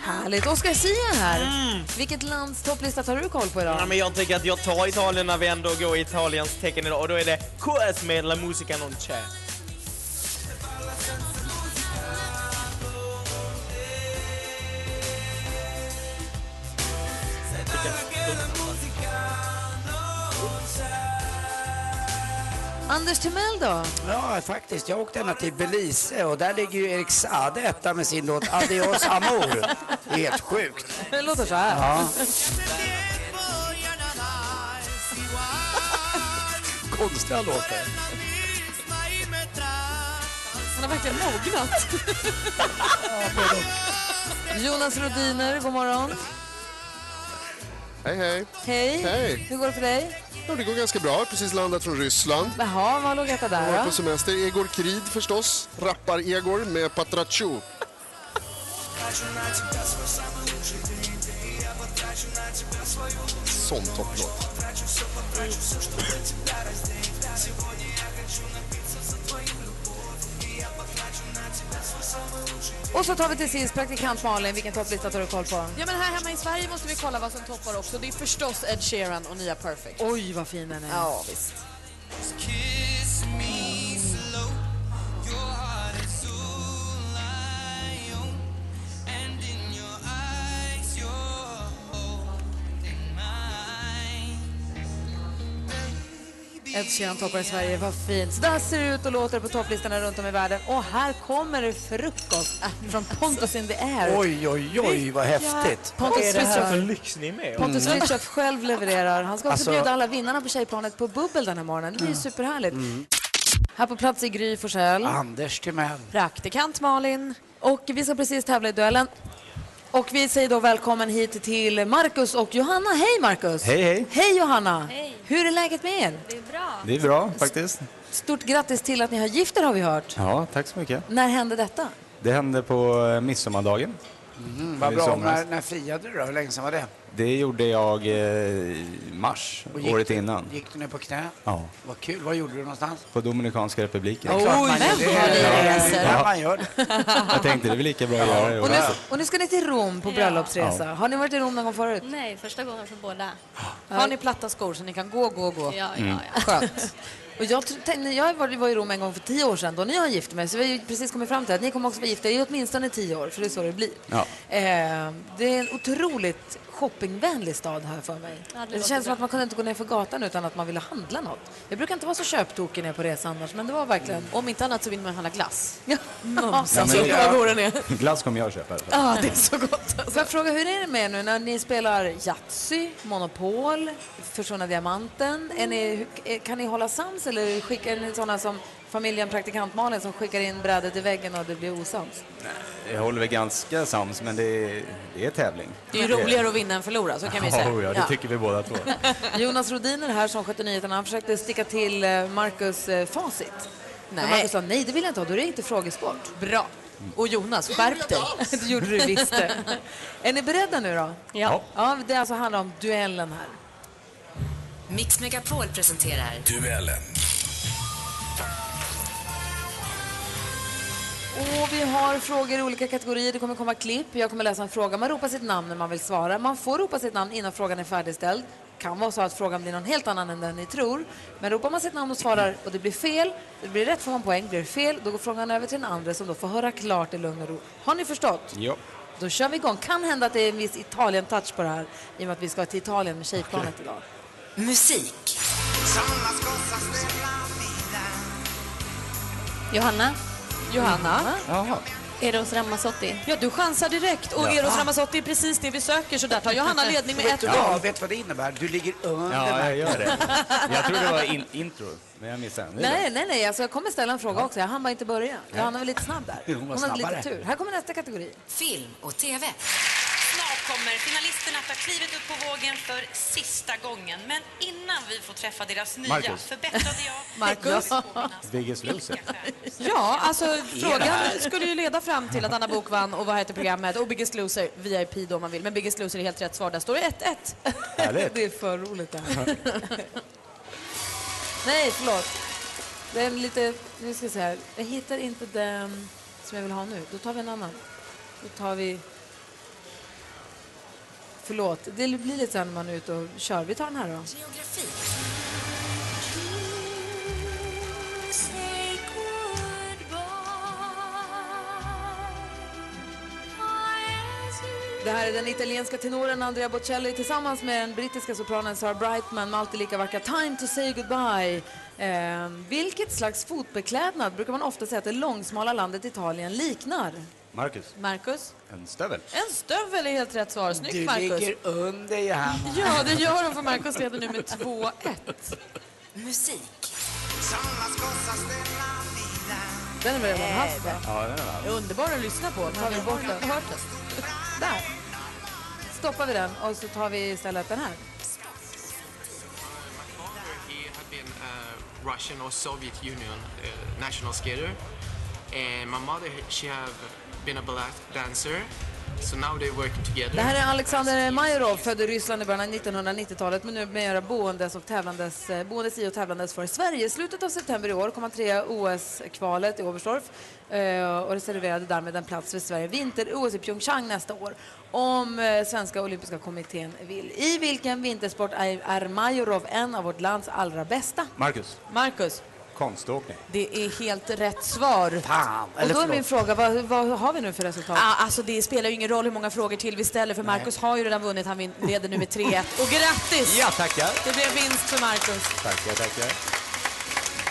Härligt. Oscar Sia här. Vilket lands topplista tar du koll på idag? Ja, men jag tycker att jag tar Italien när vi ändå går i Italiens tecken idag och då är det KS med La Musica Non C'è. Anders Timell då? Ja, faktiskt. Jag åkte ända till Belize och där ligger ju Erik Saade etta med sin låt Adios Amor. Det är helt sjukt. Det låter så här. Ja. Konstiga låtar. Han har verkligen mognat. Jonas Rodiner, god morgon. Hej, hej. Hej. Hej. Hur går det för dig? Ja, det går ganska bra. Jag har precis landat från Ryssland. Jaha, vad låg detta Jag har där varit då? på semester. Egor Krid förstås. Rappar-Egor med Patrachu. Sån topplåt. Och så tar vi till sist praktikant Malin. Vilken topplista tar du koll på? Ja, men här hemma i Sverige måste vi kolla vad som toppar också. Det är förstås Ed Sheeran och nya Perfect. Oj, vad fin den är. Ja, visst. Ed Sheeran toppar i Sverige, vad fint. Så där ser det ut och låter på topplistorna runt om i världen. Och här kommer det frukost äh, från Pontus in the air. Oj, oj, oj, vad häftigt. Pontus Vad är det här för Fritiof- lyx ni är med om? Pontus Fritiof själv levererar. Han ska också Mm. Alltså- Mm. bjuda alla vinnarna på tjejplanet på bubbel den här morgonen. Det blir ju superhärligt. Här på plats är Gry Forssell. Anders Timell. Praktikant Malin. Och vi ska precis tävla i duellen. Och vi säger då välkommen hit till Marcus och Johanna. Hej Marcus! Hej, hej. Hej Johanna! Hur är läget med er? Det är bra. Det är bra faktiskt. Stort grattis till att ni har gift er har vi hört. Ja, tack så mycket. När hände detta? Det hände på eh, midsommardagen. Mm, vad I bra. somras. När, när friade du då? Hur länge sedan var det? Det gjorde jag eh, i mars, Och gick året du, innan. Gick du ner på knä? Ja, Vad kul. Vad gjorde du någonstans? på Dominikanska republiken. Klart man men gör det. vad Det är reser. där man gör det. Jag tänkte det är väl lika bra att göra det. Och nu, och nu ska ni till Rom på bröllopsresa. Har ni varit i Rom någon gång förut? Nej, första gången för båda. Har ni platta skor så ni kan gå, gå, gå? Ja, ja, ja. Skönt. Och jag, tr- tänk- när jag var, var i Rom en gång för tio år sedan, då när jag gifte mig, så vi har ju precis kommit fram till att ni kommer också vara gifta i åtminstone tio år, för det är så det blir. Ja. Eh, det är en otroligt shoppingvänlig stad här för mig. det det låter känns som bra. att man kunde inte gå ner för gatan utan att man ville handla något. Jag brukar inte vara så köptokig när jag är på resa annars, men det var verkligen... Mm. Om inte annat så vill man handla glass. Ja. Ja, men det- Vad god den är. Glass kommer jag köpa. i alla fall. Ja, det är så gott. Får jag fråga, hur är det med er nu när ni spelar Yatzy, Monopol, Försvunna Diamanten? Är ni, hur- kan ni hålla sams eller skickar ni sådana som familjen Praktikant Malin som skickar in brädet i väggen och det blir osams? Jag håller väl ganska sams, men det är, det är tävling. Det är ju roligare att vinna än förlora, så kan vi ju säga. Oh, ja, det tycker vi båda två. Jonas Rodiner här som skötte nyheterna, han försökte sticka till eh, Marcus eh, facit. Men Nej. Marcus sa nej, det vill jag inte ha, då är det inte frågesport. Bra. Och Jonas, skärp dig. det gjorde du visst det. Är ni beredda nu då? Ja. Ja, det alltså handlar om duellen här. Mix Megapol presenterar Duellen. Och vi har frågor i olika kategorier. Det kommer komma klipp. Jag kommer läsa en fråga. Man ropar sitt namn när man vill svara. Man får ropa sitt namn innan frågan är färdigställd. kan vara så att frågan blir någon helt annan än den ni tror. Men ropar man sitt namn och svarar och det blir fel, det blir rätt får man poäng. Blir det fel, då går frågan över till den andra som då får höra klart i lugn och ro. Har ni förstått? Ja. Då kör vi igång. Kan hända att det är en viss Italien-touch på det här i och med att vi ska till Italien med tjejplanet idag. musik. Johanna, Johanna? Jaha. Eros Ramazzotti. Ja, du chansar direkt. Och Eros Ramazzotti är precis det vi söker, så där tar Johanna ledning med ett Ja, mål. vet vad det innebär? Du ligger under ja, jag mig. gör det. Jag trodde det var in, intro, men jag missade. Det är bra. Nej, nej, nej. Alltså, jag kommer ställa en fråga också. Jag hann bara inte börja. Johanna var lite snabb där. Jo, hon var hade lite snabbare. tur. Här kommer nästa kategori. Film och TV. Snart kommer finalisterna ta klivet upp på vågen för sista gången. Men innan vi får träffa deras nya Marcus. förbättrade jag Marcus. Marcus. Biggest Loser. Ja, alltså frågan skulle ju leda fram till att Anna Bok vann och vad heter programmet? Och Biggest Loser, VIP då om man vill. Men Biggest Loser är helt rätt svar. Där står det 1-1. Härligt. Det är för roligt det här. Nej, förlåt. Det är en lite... Nu ska jag säga. Jag hittar inte den som jag vill ha nu. Då tar vi en annan. Då tar vi... Förlåt. Det blir lite så här när man är ute och kör. Vi tar den här då. Geografi. Det här är den italienska tenoren Andrea Bocelli tillsammans med den brittiska sopranen Sarah Brightman med alltid lika vackra Time to say goodbye. Eh, vilket slags fotbeklädnad brukar man ofta säga att det långsmala landet Italien liknar? Marcus, Marcus? en stövel. En stövel är helt rätt svar. Du Snyggt, Marcus. ligger under, Johanna. Ja, det gör de för Marcus leder nu med 2-1. Musik. Den har vi redan haft va? Ja, den är bra. Underbar att lyssna på. Tar vi bort den? Hört den? Där. Stoppar vi den och så tar vi istället den här. He had been a eh, Russian or Soviet Union uh, national skater. Eh, And my mother, she have been a ballet dancer. So now they're working together. Det här är Alexander Majorov, född i Ryssland i början av 1990-talet men nu numera boendes, och tävlandes, eh, boendes i och tävlandes för Sverige. I slutet av september i år kom han trea i OS-kvalet i Oberstdorf eh, och reserverade därmed en plats för Sverige vinter-OS i Pyeongchang nästa år om eh, Svenska Olympiska Kommittén vill. I vilken vintersport är, är Majorov en av vårt lands allra bästa? Marcus, Marcus, konståkning. det är helt rätt svar. Fan, Och eller då är förlåt. min fråga, vad, vad har vi nu för resultat? Ah, alltså det spelar ju ingen roll hur många frågor till vi ställer för Marcus har ju redan vunnit. Han vin- leder nu med 3-1. Och grattis! Ja, tackar. Det blev vinst för Marcus. Tackar, tackar.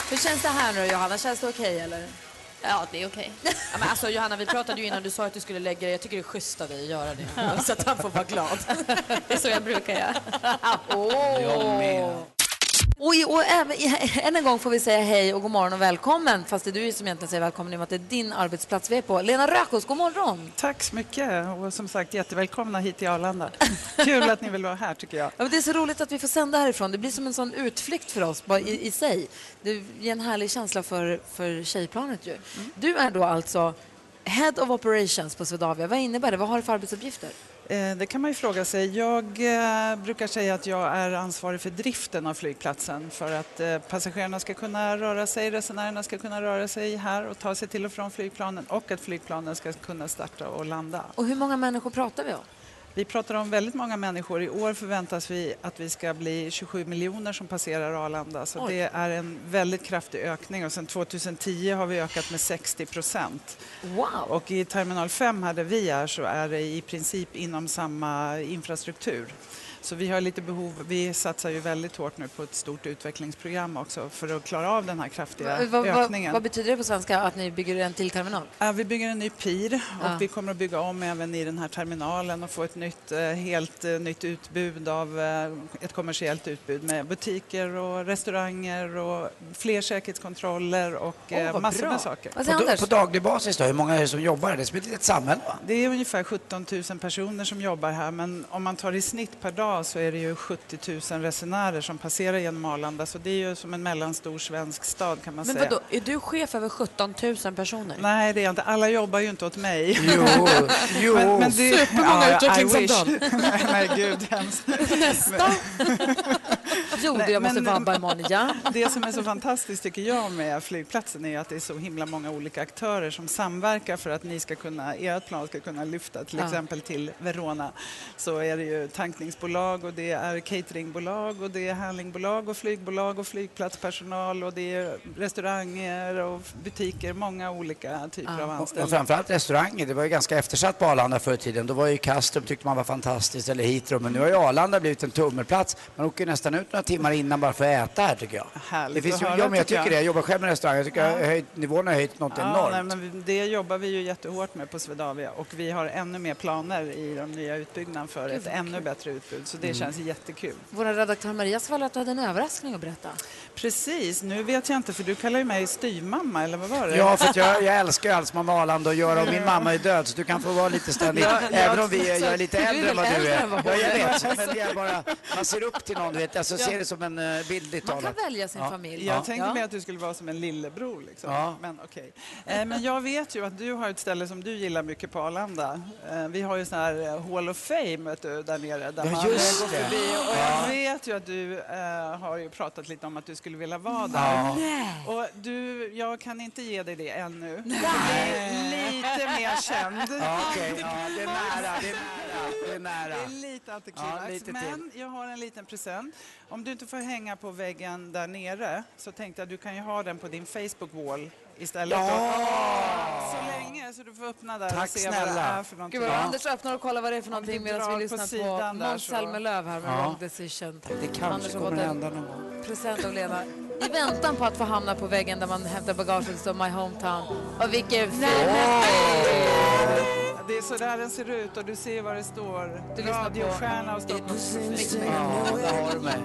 Hur känns det här nu Johanna? Känns det okej eller? Ja, det är okej. Ja, men alltså, Johanna, vi pratade ju innan du sa att du skulle lägga dig. Jag tycker det är schysst av dig att göra det. Så att han får vara glad. Det är så jag brukar göra. Jag Och, i, och även, än en gång får vi säga hej och god morgon och välkommen. Fast det är du som egentligen säger välkommen i och med att det är din arbetsplats vi är på. Lena Rökos, god morgon. Tack så mycket och som sagt jättevälkomna hit till Arlanda. Kul att ni vill vara här tycker jag. Ja, men det är så roligt att vi får sända härifrån. Det blir som en sån utflykt för oss bara i, i sig. Det ger en härlig känsla för, för tjejplanet ju. Mm. Du är då alltså Head of Operations på Swedavia. Vad innebär det? Vad har du för arbetsuppgifter? Eh, Det kan man ju fråga sig. Jag eh, brukar säga att jag är ansvarig för driften av flygplatsen för att eh, passagerarna ska kunna röra sig, resenärerna ska kunna röra sig här och ta sig till och från flygplanen och att flygplanen ska kunna starta och landa. Och hur många människor pratar vi om? Vi pratar om väldigt många människor. I år förväntas vi att vi ska bli 27 miljoner som passerar Arlanda. Så Oj. det är en väldigt kraftig ökning och sedan 2010 har vi ökat med 60 procent. Wow! Och i terminal 5 här där vi är så är det i princip inom samma infrastruktur. Så vi har lite behov, vi satsar ju väldigt hårt nu på ett stort utvecklingsprogram också för att klara av den här kraftiga Vad- vad- ökningen. vad betyder det på svenska att ni bygger en till terminal? Ja, Vi bygger en ny pir och Ja. vi kommer att bygga om även i den här terminalen och få ett nytt, eh, helt eh, nytt utbud av eh, ett kommersiellt utbud med butiker och restauranger och fler säkerhetskontroller och eh, massor med saker. på, da- på daglig basis då, hur många är det som jobbar? Det är som ett litet samhälle va? Det är ungefär 17 000 personer som jobbar här men om man tar i snitt per dag så är det ju 70 000 resenärer som passerar genom Arlanda så det är ju som en mellanstor svensk stad kan man Men säga. vadå, är du chef över 17 000 personer? Nej, det är jag inte. Alla jobbar ju inte åt mig. Jo, jo. Supermånga I utvecklingssamtal. wish. nej, nej, gud hemskt. Nästa. Jo, det jag måste vabba imorgon, ja. Det som är så fantastiskt tycker jag med flygplatsen är att det är så himla många olika aktörer som samverkar för att ni ska kunna, ert plan ska kunna lyfta till Ja. exempel till Verona. Så är det ju tankningsbolag och det är cateringbolag och det är handlingbolag och flygbolag och flygplatspersonal och det är restauranger och butiker, många olika typer av Och anställda. framförallt restauranger, det var ju ganska eftersatt på Arlanda förr i tiden. Då var ju Kastrup tyckte man var fantastiskt, eller Heathrow. Men nu har ju Arlanda blivit en tummelplats. Man åker ju nästan ut några timmar innan bara för att äta här tycker jag. Härligt det finns att ju, höra, ja, men jag tycker tycker jag. det. Jag jobbar själv med restaurang. Jag tycker Ja. jag har höjt, nivån har höjt något Ja, enormt. nej, men vi- det jobbar vi ju jättehårt med på Swedavia och vi har ännu mer planer i den nya utbyggnaden för Gud, ett vad ännu kul. bätsk utbud så det Mm. känns jättekul. Vår redaktör Maria svarade att du hade en överraskning att berätta. Precis, nu vet jag inte för du kallar ju mig styvmamma eller vad var det? Ja, för att jag, jag älskar ju allt som har med Arlanda att göra och min mamma är död så du kan få vara lite ständig. Ja, ja, Även om vi är, jag är lite du är äldre än väl vad du äldre är. än vad Ja, hon jag är. vet. Men det är bara, man ser upp till någon, du vet. Alltså, ser det som en eh, bildligt Man kan talat. välja sin Ja. Jag tänkte mer att du skulle vara som en lillebror. Liksom. Ja. Men okej. Eh, Men jag vet ju att du har ett ställe som du gillar mycket på Arlanda. Eh, Vi har ju sån här eh, Hall of Fame vet du, där nere. Där Ja, man eh, just går det. förbi. Och Ja. jag vet ju att du eh, har ju pratat lite om att du skulle vilja vara där. Ja. Nej. Och du, jag kan inte ge dig det ännu. Nej. Du är lite mer känd. Ja, okej. Ja, det är nära, det är nära, det är nära. Det är lite Ja, antiklimax. lite till. men jag har en liten present. Om du inte får hänga på väggen där nere så tänkte jag att du kan ju ha den på din Facebook-wall istället. Ja! Så länge, så du får öppna där Tack och se vad det snälla. är för någonting. Gud vad Anders öppnar och kollar vad det är för någonting du medan drar vi på lyssnar på, sidan där Måns så- Zelmerlöw här med Ja. Wrong Decision. Det kanske Anders har kommer fått att en hända någon gång. Present av Lena. I väntan på att få hamna på väggen där man hämtar bagaget står My Hometown. Och vilken film! Det är så där den ser ut och du ser vad det står. Du lyssnar på- Radiostjärna och Stockholms Musik. Ja, där har du mig.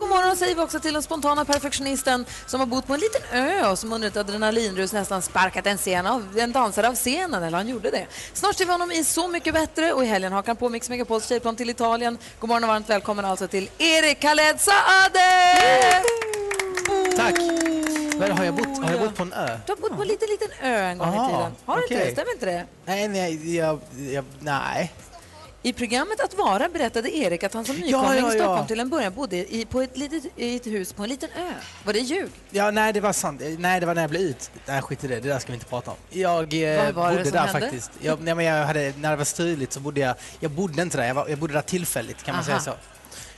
God morgon säger vi också till den spontana perfektionisten som har bott på en liten ö och som under ett adrenalinrus nästan sparkat en, scen av, en dansare av scenen, eller han gjorde det. Snart ser vi honom i Så mycket bättre och i helgen hakar han på Mix Megapols tjejplan till Italien. God morgon och varmt välkommen alltså till Erik Khaled Saade! Tack! Var har jag bott? Har jag bott på en ö? Du har bott på en liten, liten ö en gång i Aha, tiden. Har du inte okej. det? Stämmer inte det? Nej, nej, jag, jag, nej. I programmet Att vara berättade Erik att han som nykomling ja, ja. i Stockholm till en början bodde i, på ett litet, i ett hus på en liten ö. Var det ljug? Ja, nej, det var sant. Nej, det var när jag blev ut. Nej, skit i det. Det där ska vi inte prata om. Jag eh, Vad var det bodde som där hände? faktiskt. Jag, nej, men jag hade, när det var struligt så bodde jag... Jag bodde inte där. Jag, var, jag bodde där tillfälligt, kan man Aha. säga så.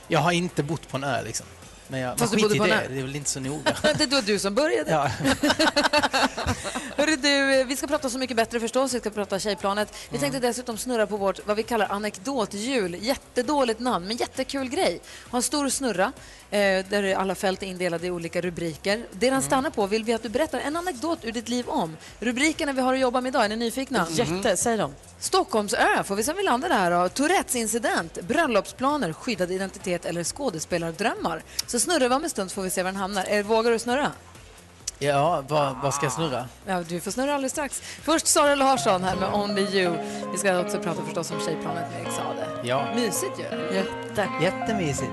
Jag har inte bott på en ö, liksom. Men, jag, men Fast du skit bodde i på en det. ö? Det är väl inte så noga. det var du som började. Ja. Hörru du, eh, vi ska prata prata Så mycket bättre förstås, vi ska prata Tjejplanet. Vi tänkte dessutom snurra på vårt, vad vi kallar anekdothjul. Jättedåligt namn, men jättekul grej. Ha en stor snurra eh, där alla fält är indelade i olika rubriker. Det den stannar på vill vi att du berättar en anekdot ur ditt liv om. Rubrikerna vi har att jobba med idag, är ni nyfikna? Jätte, säg dem. Stockholmsö, får vi se om vi landar där då. Tourettes incident, bröllopsplaner, skyddad identitet eller skådespelardrömmar. Så snurrar vi om en stund så får vi se var den hamnar. Eh, Vågar du snurra? Ja, vad, vad ska jag snurra? Ja, du får snurra alldeles strax. Först Sara Larsson här med Only You. Vi ska också prata förstås om Tjejplanet med Exade. Ja. Mysigt ju. Jätte. Jättemysigt.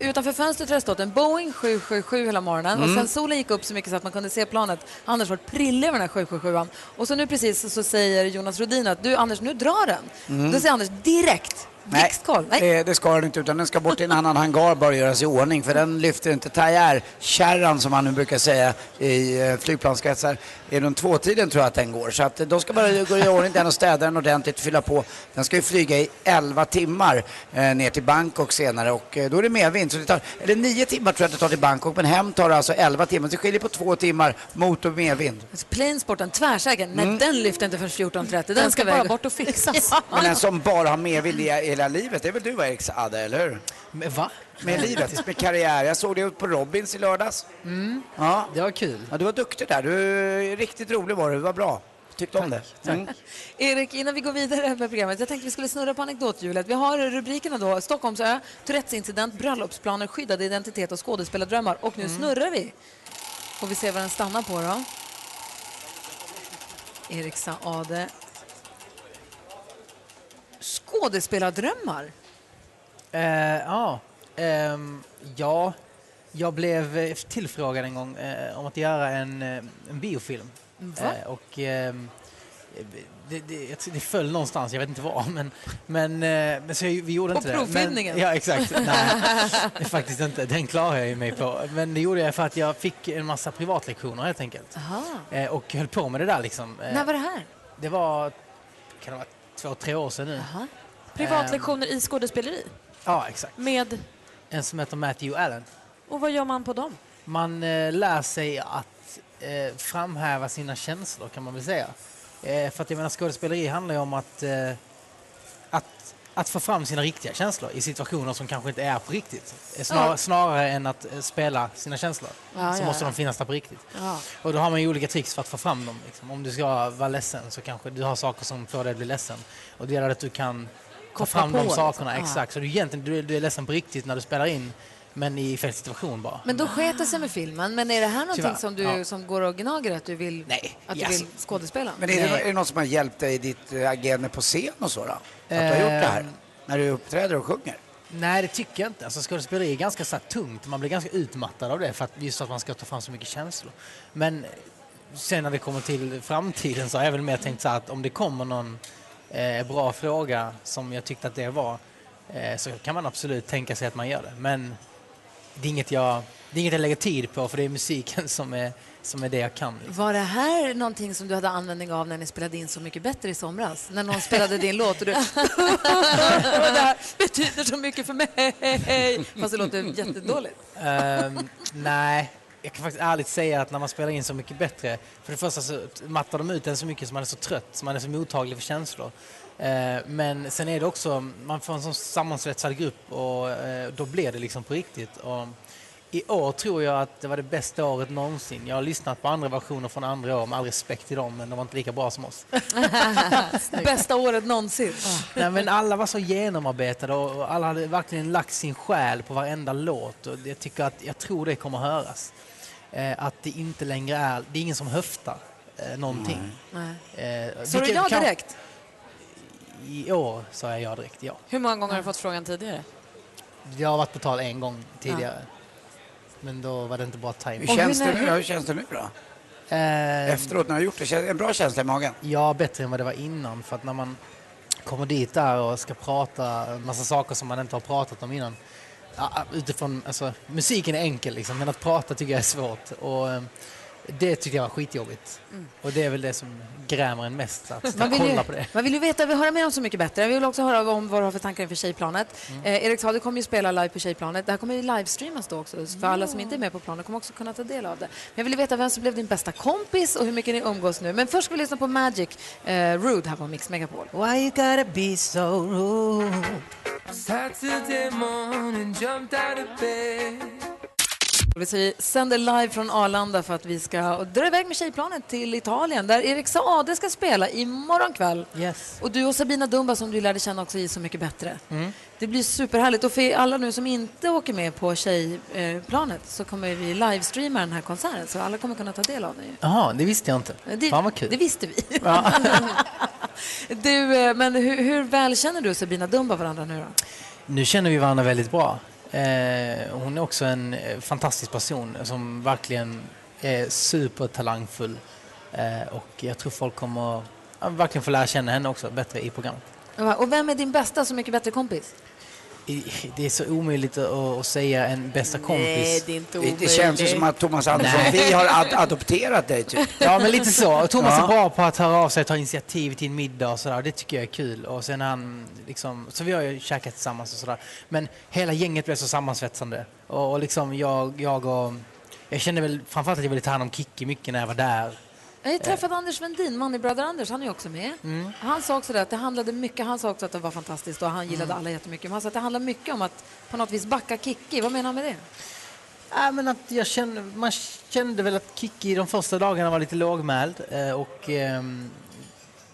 Utanför fönstret har det stått en Boeing 777 hela morgonen och Mm. sen solen gick upp så mycket så att man kunde se planet. Anders var prille över den här 777 och så nu precis så säger Jonas Rodin att du Anders, nu drar den. Mm. Då säger Anders direkt, blixtkoll. Nej. Eh, det ska den inte, utan den ska bort i en annan hangar bara göras i ordning, för den lyfter inte Tajer-kärran som man nu brukar säga i eh, flygplanskretsar. Det är runt tvåtiden tror jag att den går, så att eh, de ska bara gå i ordning den och städa den ordentligt, fylla på. Den ska ju flyga i 11 timmar eh, ner till Bangkok senare och eh, då är det medvind. Så det tar, eller 9 timmar tror jag att det tar till Bangkok, men hem tar det alltså 11 timmar. Så det skiljer på två timmar mot och medvind. Alltså, Planesporten, tvärsäker. Nej, Mm. den lyfter inte förrän 14.30. Den, Den ska ska väga. bara bort och fixas. Men den som bara har medvind i hela livet, det är väl du va, Erik Saade, eller hur? Med va? Med livet, med karriär. Jag såg det på Robins i lördags. Ja. Mm. Det var kul. Ja, du var duktig där. Du är riktigt rolig var du. Du var bra. Tyckte om det. Mm. Erik, innan vi går vidare med programmet, jag tänkte vi skulle snurra på anekdothjulet. Vi har rubrikerna då, Stockholmsö, Tourettesincident, bröllopsplaner, skyddad identitet och skådespelardrömmar. Och nu snurrar vi. Får vi se vad den stannar på då. Erik Saade. Skådespelardrömmar? Eh, ja, Ehm, ja, jag blev eh, tillfrågad en gång eh, om att göra en, eh, en biofilm. Va? Eh, och, ehm, det, det, jag tror det föll någonstans, jag vet inte var. Men, men, eh, men så jag, vi gjorde På inte det. Men- provfilmningen? Ja, exakt. Nej, det är faktiskt inte. Den klarar jag ju mig på. Men det gjorde jag för att jag fick en massa privatlektioner helt enkelt. Aha. Eh, och höll på med det där liksom. Eh, När var det här? det var, kan det vara två, tre år sedan nu. Privatlektioner i skådespeleri Ja, exakt. med, En som heter Matthew Allen. och vad gör man på dem? Man eh, lär sig att eh, framhäva sina känslor kan man väl säga. Eh, för att jag menar skådespeleri handlar ju om att, eh, att, att få fram sina riktiga känslor i situationer som kanske inte är på riktigt. Eh, Snar, Ja. Snarare än att eh, spela sina känslor Ja, så ja, måste ja. de finnas där på riktigt. Ja. Och då har man ju olika tricks för att få fram dem. Liksom. Om du ska vara ledsen så kanske du har saker som får dig att bli ledsen. Och det gäller att du kan ta Koppla fram på, de liksom. sakerna. Ja. Exakt. Så du, egentligen, du, är- du är ledsen på riktigt när du spelar in men i fel situation bara. Men då sket det sig med filmen. Men är det här någonting Tyvärr, som, du, ja. som går och gnager att du vill, att du yes. vill skådespela? Men är det, är det något som har hjälpt dig i ditt eh, agerande på scen och så då? Att du har gjort det här? Ehm. När du uppträder och sjunger? Nej, det tycker jag inte. Alltså, skådespeleri är ganska så här, tungt. Man blir ganska utmattad av det för att, just för att man ska ta fram så mycket känslor. Men sen när det kommer till framtiden så har jag väl mer tänkt så här att om det kommer någon eh, bra fråga som jag tyckte att det var eh, så kan man absolut tänka sig att man gör det. Men det är inget jag, det är inget jag lägger tid på för det är musiken som är, som är det jag kan. Var det här någonting som du hade användning av när ni spelade in Så mycket bättre i somras? När någon spelade din låt och du... det här betyder så mycket för mig! Fast det låter jättedåligt. Ehm, nej, jag kan faktiskt ärligt säga att när man spelar in Så mycket bättre, för det första så mattar de ut en så mycket så man är så trött, så man är så mottaglig för känslor. Eh, men sen är det också, man får en sån sammansvetsad grupp och eh, då blir det liksom på riktigt. Och I år tror jag att det var det bästa året någonsin. Jag har lyssnat på andra versioner från andra år, med all respekt till dem, men de var inte lika bra som oss. Bästa året någonsin. Ah, Nej, men alla var så genomarbetade och och alla hade verkligen lagt sin själ på varenda låt. Och jag, tycker att, jag tror det kommer höras. Eh, att det inte längre är, det är ingen som höftar eh, någonting. Nej. Eh, Sa du vilket ja kan- direkt? I år sa jag ja direkt, ja. Hur många gånger har du fått frågan tidigare? Jag har varit på tal en gång tidigare. Men då var det inte bra timing. Hur känns, det nu, då? hur känns det nu då? Efteråt när du har gjort det, känns- en bra känsla i magen? Ja, bättre än vad det var innan. För att när man kommer dit där och ska prata en massa saker som man inte har pratat om innan. ja, Utifrån, alltså, musiken är enkel liksom, men att prata tycker jag är svårt. Och, eh, Det tyckte jag var skitjobbigt. Mm. Och det är väl det som grämer en mest, att sitta Man och vill, ju, kolla på det. man vill ju veta, vi höra med om Så mycket bättre. Vi vill också höra om vad du har för tankar inför Tjejplanet. Mm. Eh, Erik Saade kommer ju spela live på Tjejplanet. Det här kommer ju livestreamas då också, så för alla som inte är med på planet kommer också kunna ta del av det. Men jag vill ju veta vem som blev din bästa kompis och hur mycket ni umgås nu. Men först ska vi lyssna på Magic, eh, Rude här på Mix Megapol. Why you gotta be so rude? Saturday morning, jumped out of bed. Vi säger- sänder live från Arlanda för att vi ska dra iväg med Tjejplanet till Italien där Erik Saade ska spela imorgon kväll. Yes. Och du och Sabina Dumba som du lärde känna också i Så mycket bättre. Mm. Det blir superhärligt. Och för alla nu som inte åker med på tjejplanet så kommer vi livestreama den här konserten så alla kommer kunna ta del av den. Ju. Jaha, det visste jag inte. Det- Fan vad kul. Det visste vi. du, eh, men hur, hur väl känner du och Sabina Dumba varandra nu då? Nu känner vi varandra väldigt bra. Eh, hon är också en eh, fantastisk person som verkligen är supertalangfull. Eh, och jag tror folk kommer ja, verkligen få lära känna henne också bättre i programmet. Och vem är din bästa Så mycket bättre kompis? I- Det är så omöjligt att, att säga en bästa Nej, kompis. det är inte Det, det känns ju som att Thomas Andersson, Nej. vi har ad adopterat dig typ. Ja, men lite så. Och Thomas Ja. är bra på att höra av sig och ta initiativ till en middag och sådär. Det tycker jag är kul. Och sen är han liksom, så vi har ju käkat tillsammans och sådär. Men hela gänget blev så sammansvetsande. Och, och liksom jag, jag och... Jag kände väl framförallt att jag ville ta hand om Kikki mycket när jag var där. Jag har ju träffat Anders Wendin, man i Bröder Anders, han är ju också med. Mm. Han sa också det, att det handlade mycket, han sa också att det var fantastiskt och han gillade Mm. alla jättemycket. Men han sa att det handlar mycket om att på något vis backa Kikki. Vad menar han med det? Äh, men att jag kände, man kände väl att Kikki de första dagarna var lite lågmäld eh, och ehm,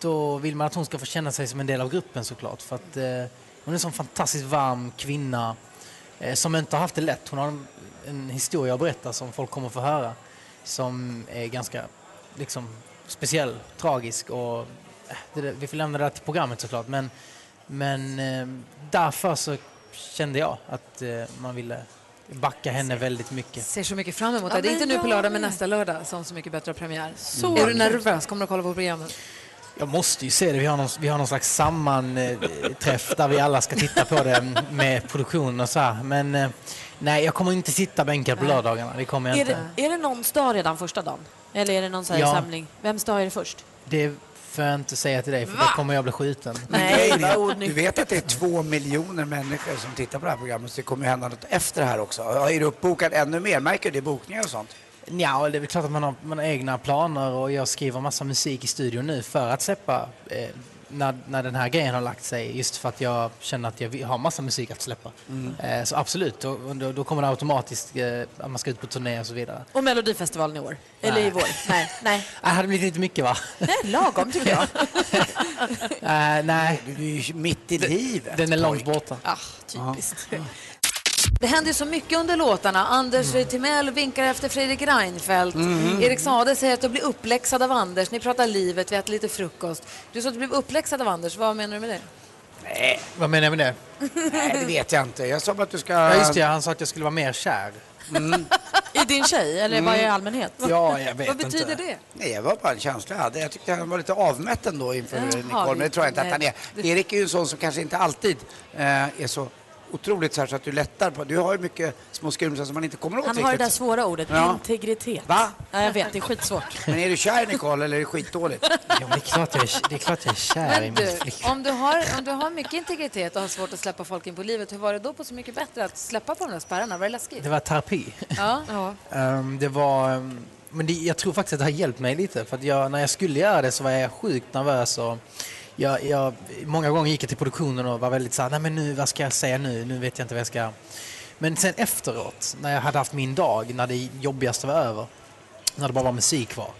då vill man att hon ska få känna sig som en del av gruppen såklart. För att eh, hon är en sån fantastiskt varm kvinna eh, som inte har haft det lätt. Hon har en, en historia att berätta som folk kommer få höra som är ganska liksom, speciell, tragisk och eh, det, där- vi får lämna det där till programmet såklart. Men, men eh, därför så kände jag att eh, man ville backa henne väldigt mycket. Ser så mycket fram emot det. Ja, Det är inte men nu på jag lördag, med. men nästa lördag som Så mycket bättre har premiär. Mm. Så är du kul. nervös? Kommer du kolla på programmet? Jag måste ju se det. Vi har någon, vi har någon slags sammanträff där vi alla ska titta på det med produktion och så här. Men eh, nej, jag kommer inte sitta bänkad på lördagarna. Det kommer jag Är inte. det, är det någons dag redan första dagen? Eller är det någon sån här Ja. samling? Vems dag är det först? Det får jag inte säga till dig, för Va? då kommer jag bli skjuten. du vet att det är två miljoner människor som tittar på det här programmet, så det kommer ju hända något efter det här också. Är du uppbokad ännu mer? Märker du det i bokningar och sånt? Ja, det är väl klart att man har, man har egna planer och jag skriver massa musik i studion nu för att släppa eh, när, när den här grejen har lagt sig. Just för att jag känner att jag vill- har massa musik att släppa. Mm. Eh, så absolut, och, och då, då kommer det automatiskt eh, att man ska ut på turné och så vidare. Och Melodifestivalen i år? Eller i Nej. vår? Nej. Nej. Det hade blivit lite mycket va? Nej, lagom tycker jag. Eh, nej. Du är ju mitt i livet. Den är långt borta. typiskt. Ah, Det händer ju så mycket under låtarna. Anders Mm. Timell vinkar efter Fredrik Reinfeldt. Mhm. Mm. Erik Saade säger att du blev uppläxad av Anders. Ni pratar livet, vi äter lite frukost. Du sa att du blev uppläxad av Anders. Vad menar du med det? Nej, Vad menar jag med det? nej, det vet jag inte. Jag sa bara att du ska... Ja, just det, han sa att jag skulle vara mer kär. I din tjej eller bara i allmänhet? Mm. Ja, jag vet inte. Nej, jag var bara en känsla jag hade. Jag tyckte han var lite avmätt ändå inför Jaha, Nicole, men det tror jag inte att han är. nej. Erik är ju en sån som kanske inte alltid eh, är så otroligt så, här, så att du lättar på. Du har ju mycket små skrymslen som man inte kommer åt Han har det riktigt. där svåra ordet, Ja. integritet. Va? Ja, jag vet, det är skitsvårt. Men är du kär Nicole eller är det skitdåligt? Ja, men det, är klart jag är, det är klart jag är kär i min Men du, flickvän. om du, har, om du har mycket integritet och har svårt att släppa folk in på livet, hur var det då på Så mycket bättre att släppa på de där spärrarna? Var det läskigt? Det var terapi. Ja. Ehm, det var, ehm, men det, jag tror faktiskt att det har hjälpt mig lite. För att jag, när jag skulle göra det så var jag sjukt nervös. Och jag, jag, många gånger gick jag till produktionen och var väldigt så här, nej men nu, vad ska jag säga nu? Nu vet jag inte vad jag ska... Men sen efteråt, när jag hade haft min dag, när det jobbigaste var över, när det bara var musik kvar,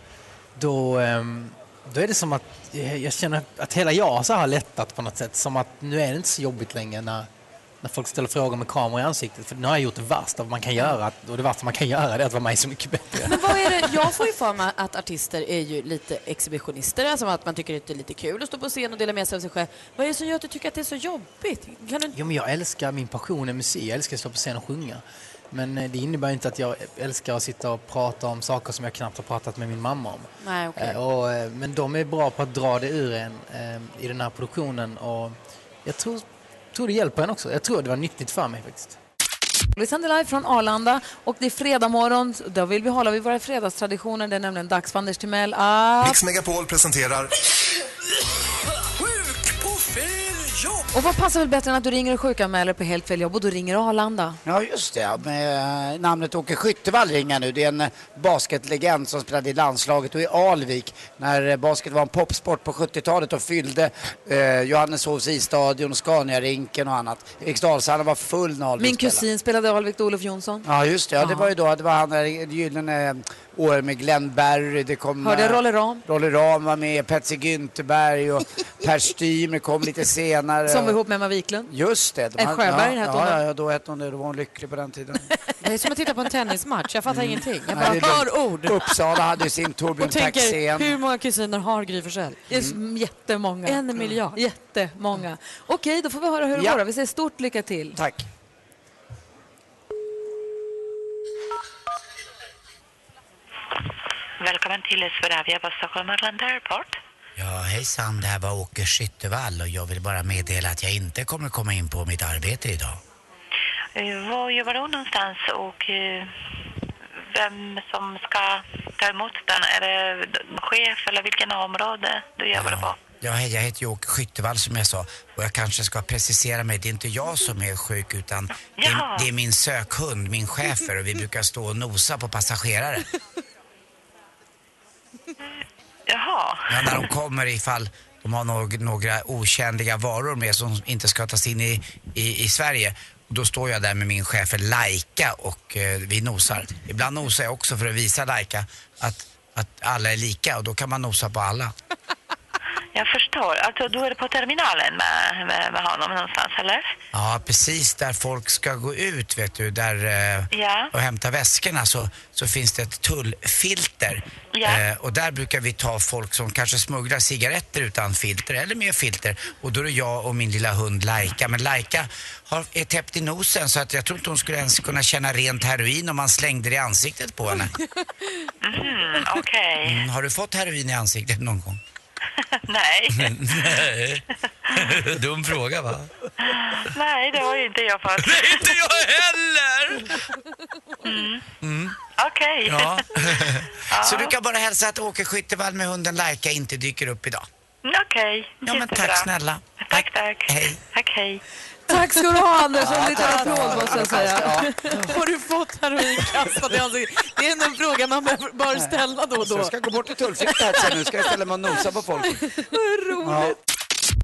då, ehm, då är det som att jag, jag känner att hela jag så här har lättat på något sätt. Som att nu är det inte så jobbigt längre när, när folk ställer frågor med kamera i ansiktet. För nu har jag gjort det värsta man kan göra. Och det värsta man kan göra det är att vara mig så mycket bättre. Men vad är det? Jag får ju för mig att artister är ju lite exhibitionister, alltså att man tycker att det är lite kul att stå på scen och dela med sig av sig själv. Vad är det som gör att du tycker att det är så jobbigt? Kan du... Jo, men jag älskar, min passion är musik. Jag älskar att stå på scen och sjunga. Men eh, det innebär inte att jag älskar att sitta och prata om saker som jag knappt har pratat med min mamma om. Nej, okej. Eh, Och, eh, men de är bra på att dra det ur en eh, i den här produktionen och jag tror, tror det hjälper en också. Jag tror det var nyttigt för mig faktiskt. Vi sänder live från Arlanda och det är fredag morgon. så Då vill vi hålla vid våra fredagstraditioner. Det är nämligen dags för Anders Timell att... Mix Megapol presenterar Och vad passar väl bättre än att du ringer och sjukanmäler på helt fel jobb och då ringer Arlanda? Ja, just det. Med eh, namnet Åke Skyttevall ringer nu. Det är en eh, basketlegend som spelade i landslaget och i Alvik när eh, basket var en popsport på 70-talet och fyllde eh, Johanneshovs isstadion, Scaniarinken och annat. Eriksdalshallen var full när Alvik Min spelade. kusin spelade Alvik, Olof Jonsson. Ja, just det. Ja, det Ja. var ju då, det var han där i gyllene eh, år med Glenn Berry. Det kom... Hörde jag eh, Rolle Ram? Rolle Ram var med, Patsy Güntherberg och Per Stymer kom lite senare. Eh. Som var ihop med Emma Wiklund. Just det. de Ed hade- Sjöberg ja, hette hon ja, då. ja, ja, då hette hon det. Då var hon lycklig på den tiden. Det är som att titta på en tennismatch. Jag Mm. fattar ingenting. Jag Nej, bara det är hör dumt. ord. Uppsala hade ju sin Torbjörn Och tänker, Taxén. hur många kusiner har Gry Forssell? Mm. Jättemånga. Mm. En miljard. Jättemånga. Okej, då får vi höra hur det Ja. går. då. Vi säger stort lycka till. Tack. Välkommen till Swedavia Vasastation Arlanda Airport. Ja, hejsan, det här var Åke Skyttevall och jag vill bara meddela att jag inte kommer komma in på mitt arbete idag. Eh, Var jobbar du någonstans och eh, vem som ska ta emot den? Är det d- chef eller vilken område du jobbar på? Ja, hej, jag heter ju Åke Skyttevall som jag sa och jag kanske ska precisera mig. Det är inte jag som är sjuk utan det Jaha. är, det är min sökhund, min schäfer och vi brukar stå och nosa på passagerare. Jaha, Ja, när de kommer ifall de har nog, några okändiga varor med som inte ska tas in i, i, i Sverige. Och Då står jag där med min chef Laika och eh, vi nosar. Ibland nosar jag också för att visa Laika att, att alla är lika och då kan man nosa på alla. jag förstår. Alltså, du är på terminalen med, med, med honom någonstans, eller? Ja, precis där folk ska gå ut vet du, där eh, Ja. och hämta väskorna så, så finns det ett tullfilter. Ja. Eh, och där brukar vi ta folk som kanske smugglar cigaretter utan filter eller med filter. Och då är det jag och min lilla hund Laika. Men Laika har, är täppt i nosen så att jag tror inte hon skulle ens kunna känna rent heroin om man slängde det i ansiktet på henne. Mhm, okej. Mm, har du fått heroin i ansiktet någon gång? Nej. Nej. Dum fråga va? Nej, det har ju inte jag fått. Nej, inte jag heller! Mm. Mm. Okej. Ja. Så du kan bara hälsa att Åke Skyttevall med hunden Laika inte dyker upp idag. Okej, Ja, men jättebra. tack snälla. Tack, tack. Hej. Tack, hej. Tack ska du ha, Anders. Ja, En liten tack. applåd måste jag säga. Har du fått heroin kastat i ansiktet? Det är en fråga man bör ställa då och Så då. jag ska gå bort till tullfiltret här sen. Nu ska jag ställa mig och nosa på folk. Ja.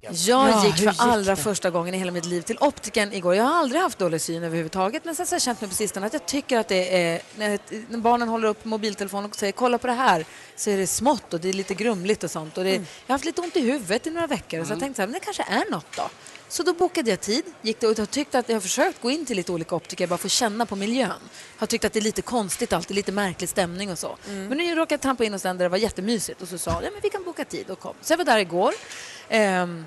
Jag Ja, gick hur gick för allra det? första gången i hela mitt liv till optiken igår. Jag har aldrig haft dålig syn överhuvudtaget, men sen så har jag känt mig på sistone att jag tycker att det är, när, när barnen håller upp mobiltelefonen och säger kolla på det här, så är det smått och det är lite grumligt och sånt. Och det, Mm. Jag har haft lite ont i huvudet i några veckor, så jag tänkte så här, men det kanske är något då. Så då bokade jag tid, gick det och jag tyckte att jag har försökt gå in till lite olika optiker bara för att känna på miljön. Har tyckt att det är lite konstigt alltid, lite märklig stämning och så. Mm. Men nu råkade jag trampa in hos den där det var jättemysigt och så sa jag, men vi kan boka tid och kom. Så jag var där igår. Ehm,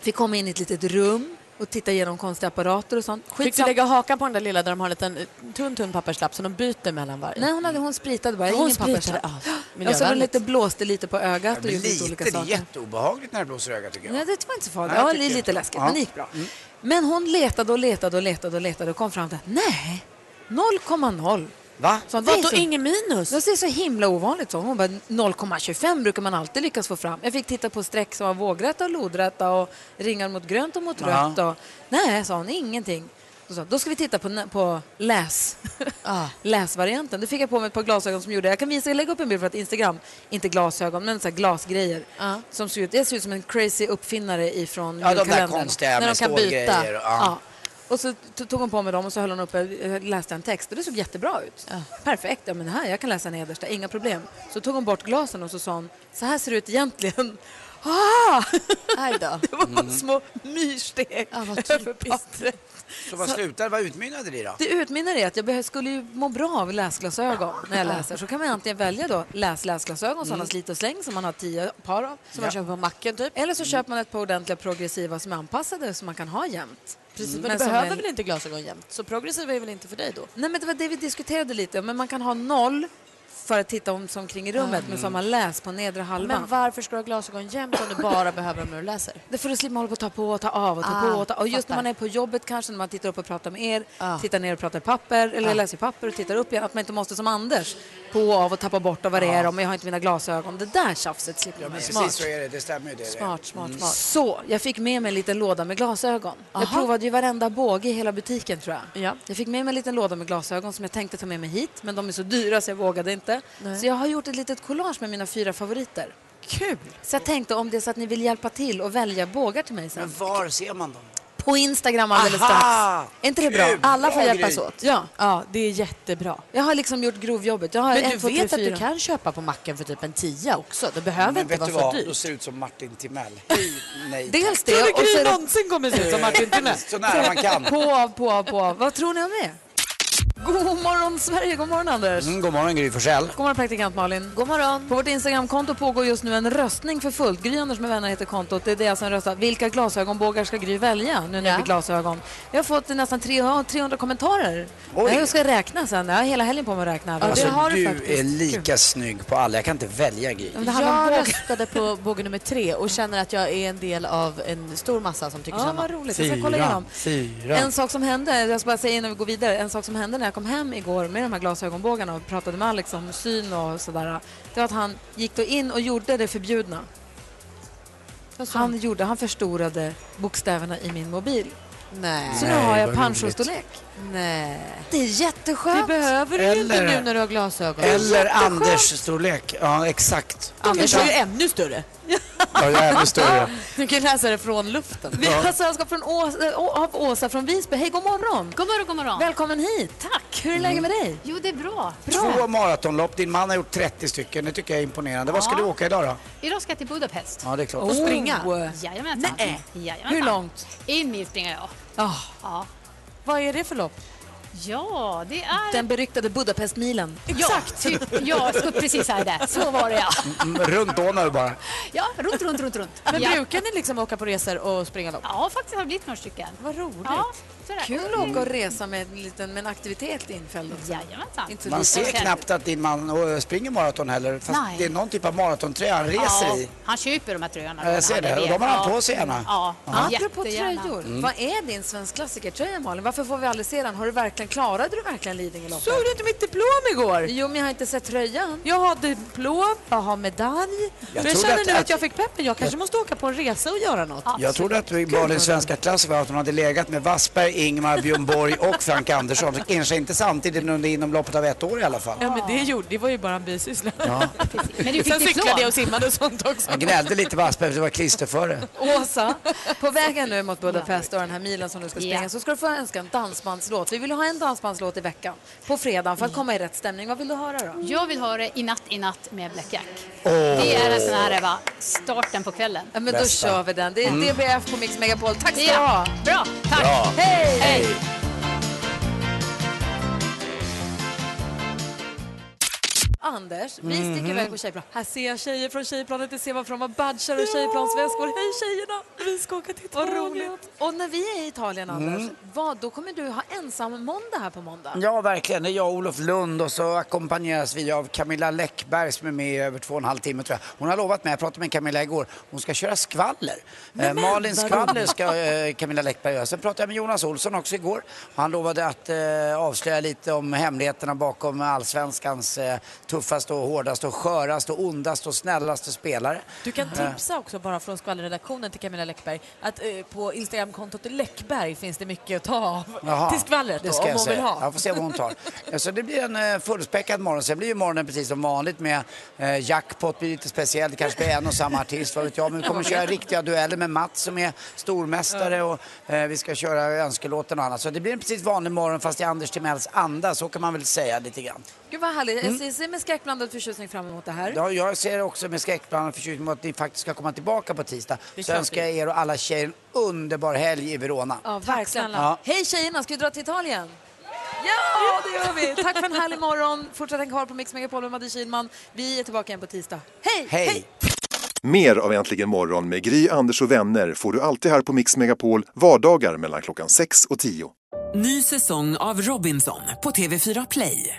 Fick komma in i ett litet rum och titta igenom konstiga apparater och sånt. Fick du lägga hakan på den där lilla där de har en liten eh, tunn, tunn papperslapp som de byter mellan varje? Nej, hon, hade, hon spritade bara. Hon Ingen spritade, papperslapp. ja. Och så var det Miljövänligt. lite, blåste lite på ögat och Men gjorde lite lite, olika det är saker. jätteobehagligt när det blåser i ögat tycker jag. Nej, det var inte så farligt. Nej, jag Ja, tycker det är lite inte. läskigt, Ja. men det gick bra. Mm. Men hon letade och letade och letade och letade och kom fram till att nej, 0,0. Va? Så hon, Vadå, ingen minus? Det är så himla ovanligt. Så. Hon bara 0,25 brukar man alltid lyckas få fram. Jag fick titta på streck som var vågrätta och lodrätta och ringar mot grönt och mot Ja. rött. Och, nej, sa hon, ingenting. Då, sa, då ska vi titta på, nä- på läs. läsvarianten. Då fick jag på mig ett par glasögon som gjorde, jag kan visa, lägga upp en bild för att Instagram, inte glasögon, men så här glasgrejer. Som ser ut, jag ser ut som en crazy uppfinnare ifrån Ja, de där julkalendern. konstiga med stålgrejer, ja. Ja. Och så t- tog hon på mig dem och så höll hon upp, eh, läste en text och det såg jättebra ut. Perfekt, ja men det här, jag kan läsa nedersta, inga problem. Så tog hon bort glasen och så sa hon, så här ser det ut egentligen. Ah! Det var Mm. små myrsteg över pappret. Så vad slutade vad utmynnade det i då? Det utmynnar i att jag behö- skulle ju må bra av läsglasögon när jag Ja. läser. Så kan man antingen välja då läs läsglasögon, sådana Mm. slit och släng som man har tio par av. Som man Ja. köper på macken typ. Mm. Eller så köper man ett par ordentliga progressiva som är anpassade som man kan ha jämt. Precis, Mm. men du som behöver är- väl inte glasögon jämt? Så progressiva är väl inte för dig då? Nej men det var det vi diskuterade lite, men man kan ha noll för att titta om som kring i rummet, Ah. men som man läst på nedre halvan. Men varför ska du ha glasögon jämt om du bara behöver dem när du läser? Det får du slippa hålla på att ta på och ta av och ta Ah, på och ta Och just när fattar. man är på jobbet kanske, när man tittar upp och pratar med er, tittar ner och pratar i papper, eller Ah. läser i papper och tittar upp igen, att man inte måste som Anders, på och av och tappa bort och vad det Ah. är om, jag har inte mina glasögon. Det där tjafset slipper Ja, man men ju. precis så är det. Det stämmer ju. Det, Smart, smart, Mm. smart. Så, jag fick med mig en liten låda med glasögon. Jag Aha. provade ju varenda båge i hela butiken tror jag. Jag fick med mig en liten låda med glasögon som jag tänkte ta med mig hit, men de är så dyra så jag vågade inte. Nej. Så jag har gjort ett litet collage med mina fyra favoriter. Kul! Så jag tänkte om det är så att ni vill hjälpa till och välja bågar till mig sen. Men var ser man dem? På Instagram alldeles Aha! strax. Är inte det bra? Kul! Alla får Bra hjälpas grej. åt. Ja. Ja, det är jättebra. Jag har liksom gjort grovjobbet. Jag har Men en, du två, vet tre, att du fyra. kan köpa på macken för typ en tia också. Det behöver Men inte vet vara du så vad? Då dyrt. ser det ut som Martin Timell. Nej. Dels Tror det. du och så Gry är det- någonsin kommer se ut som Martin Timell? Så nära man kan. På, av, på, av, på. av. Vad tror ni om det? God morgon Sverige, god morgon Anders. Mm, god morgon Gry Forssell. God morgon praktikant Malin. God morgon. På vårt Instagramkonto pågår just nu en röstning för fullt. Gry Anders med vänner heter kontot. Det är det som röstar. Vilka glasögonbågar ska Gry välja nu när det blir glasögon? Jag har fått nästan 300, 300 kommentarer. Oj. Jag ska räkna sen. Jag har hela helgen på mig att räkna. Alltså, du är lika snygg på alla. Jag kan inte välja Gry. Jag röstade på båge nummer tre och känner att jag är en del av en stor massa som tycker Ja, samma. vad roligt. Jag ska kolla igenom. Fyra. En sak som hände, jag ska bara säga innan vi går vidare, en sak som hände när jag kom hem igår med de här glasögonbågarna och pratade med Alex om syn och sådär, det var att han gick då in och gjorde det förbjudna. Han, gjorde, han förstorade bokstäverna i min mobil. Nej. Så nu Nej, har jag vad pensionsstorlek. Nej. Det är jätteskönt. Det behöver du ju inte Eller- nu när du har glasögon. Eller Anders storlek. Ja, exakt. Anders är ju ännu större. Ja, jag är ännu större. Du kan läsa det från luften. Vi har sällskap Alltså, från Åsa, äh, Å- av Åsa från Visby. Hej, god morgon! God morgon, god morgon. Välkommen hit! Tack! Hur är läget med dig? Jo, det är bra. Två maratonlopp. Din man har gjort 30 stycken. Det tycker jag är imponerande. Vad ska Ja. du åka idag då? Idag ska jag till Budapest. Ja, det är klart. Och springa? Jajamensan. Nej. Jajamensan. Hur långt? En mil springer jag. Ja. Vad är det för lopp? Ja, det är... Den beryktade Budapestmilen. Exakt! Ja, typ, ja så precis här där. Så var det ja. Mm, Runt Donau bara. Ja, runt, runt, runt, runt. Men ja. brukar ni liksom åka på resor och springa lopp? Ja, faktiskt har det blivit några stycken. Vad roligt. Ja, så är det. Kul att åka och resa med en, liten, med en aktivitet infälld. också. Jajamensan. Inte så Man lite. ser knappt att din man eh, springer maraton heller. Fast Nej. det är någon typ av maratontröja han reser i. han köper de här tröjorna. Ja, jag ser det. Och de har han på sig gärna. Ja, Ja. Apropå jättegärna. tröjor, Mm. vad är din svensk klassikertröja Malin? Varför får vi aldrig se den? Har du verkligen, klarade du verkligen Lidingöloppet? Såg du inte mitt diplom igår? Jo, men jag har inte sett tröjan. Jag har diplom, jag har medalj. Jag, trodde känner att- nu att att- jag fick peppen. Jag kanske måste åka på en resa och göra något. Jag trodde att vi bara i svenska klassen var att hon hade legat med Wassberg, Ingmar, Björn Borg och Frank Andersson. Så Kanske inte samtidigt men under inom loppet av ett år i alla fall. Ja, men det, gjorde, det var ju bara en bisyssla. Ja. Men du fick Sen diplom. cyklade jag och simmade och sånt också. Jag gnällde lite på Wassberg för det var klisterföre. Mm. Åsa, på vägen nu mot Budapest och den här milen som du ska springa Ja. så ska du få önska en dansbandslåt. Vi vill ha en dansbandslåt i veckan på fredag Mm. för att komma i rätt stämning. Vad vill du höra då? Jag vill ha det i natt, i natt med Black Jack. Åh. Det är en sån här va, starten på kvällen. Ja, men då Bästa. kör vi den. Det är Mm. DBF på Mix Megapol. Tack ska du Ja, ha! bra. Tack. Bra. Hej! Hej. Anders, vi Mm-hmm. Mhm. sticker iväg på tjejplan. Här ser jag tjejer från tjejplanet. Det ser man från vad badgar och Ja. tjejplansväskor. Hej tjejerna! Vi ska åka till Italien. Vad roligt! Och när vi är i Italien, Anders, Mm. vad, då kommer du ha ensam måndag här på måndag. Ja, verkligen. Det är jag och Olof Lund och så ackompanjeras vi av Camilla Läckberg som är med i över två och en halv timme tror jag. Hon har lovat mig, jag pratade med Camilla igår, hon ska köra skvaller. Nej, eh, men, Malin vad skvaller roligt. ska eh, Camilla Läckberg göra. Sen pratade jag med Jonas Olsson också igår. Han lovade att eh, avslöja lite om hemligheterna bakom allsvenskans eh, tuffaste och hårdaste och sköraste och ondaste och snällaste spelare. Du kan Eh, tipsa också bara från skvallerredaktionen till Camilla Läckberg att eh, på Instagramkontot Läckberg finns det mycket att ta av Jaha, till skvallret det då, ska om jag hon säga. vill ha. Jag får se vad hon tar. Ja, Så det blir en eh, fullspäckad morgon. Sen blir ju morgonen precis som vanligt med eh, jackpot, blir lite speciell. Det kanske blir en och samma artist, vad vet jag. Men vi kommer Ja, köra ja. riktiga dueller med Mats som är stormästare och eh, vi ska köra önskelåten och annat. Så det blir en precis vanlig morgon fast i Anders Timells anda, så kan man väl säga lite grann. Gud vad härligt. Jag ser- ser med skräckblandad förtjusning fram emot det här. Mm. Ja, jag ser också med skräckblandad förtjusning mot att ni faktiskt ska komma tillbaka på tisdag. är Så klart önskar jag er och alla tjejer en underbar helg i Verona. Ja, verkligen. snälla. Ja. Hej tjejerna, ska vi dra till Italien? Ja, det gör vi. Tack för en härlig morgon. Fortsätt häng kvar på Mix Megapol med Madde Kihlman. Vi är tillbaka igen på tisdag. Hej! Hej! Mer av Äntligen morgon med Gry, Anders och vänner får du alltid här på Mix Megapol vardagar mellan klockan 6 och 10. Ny säsong av Robinson på TV4 Play.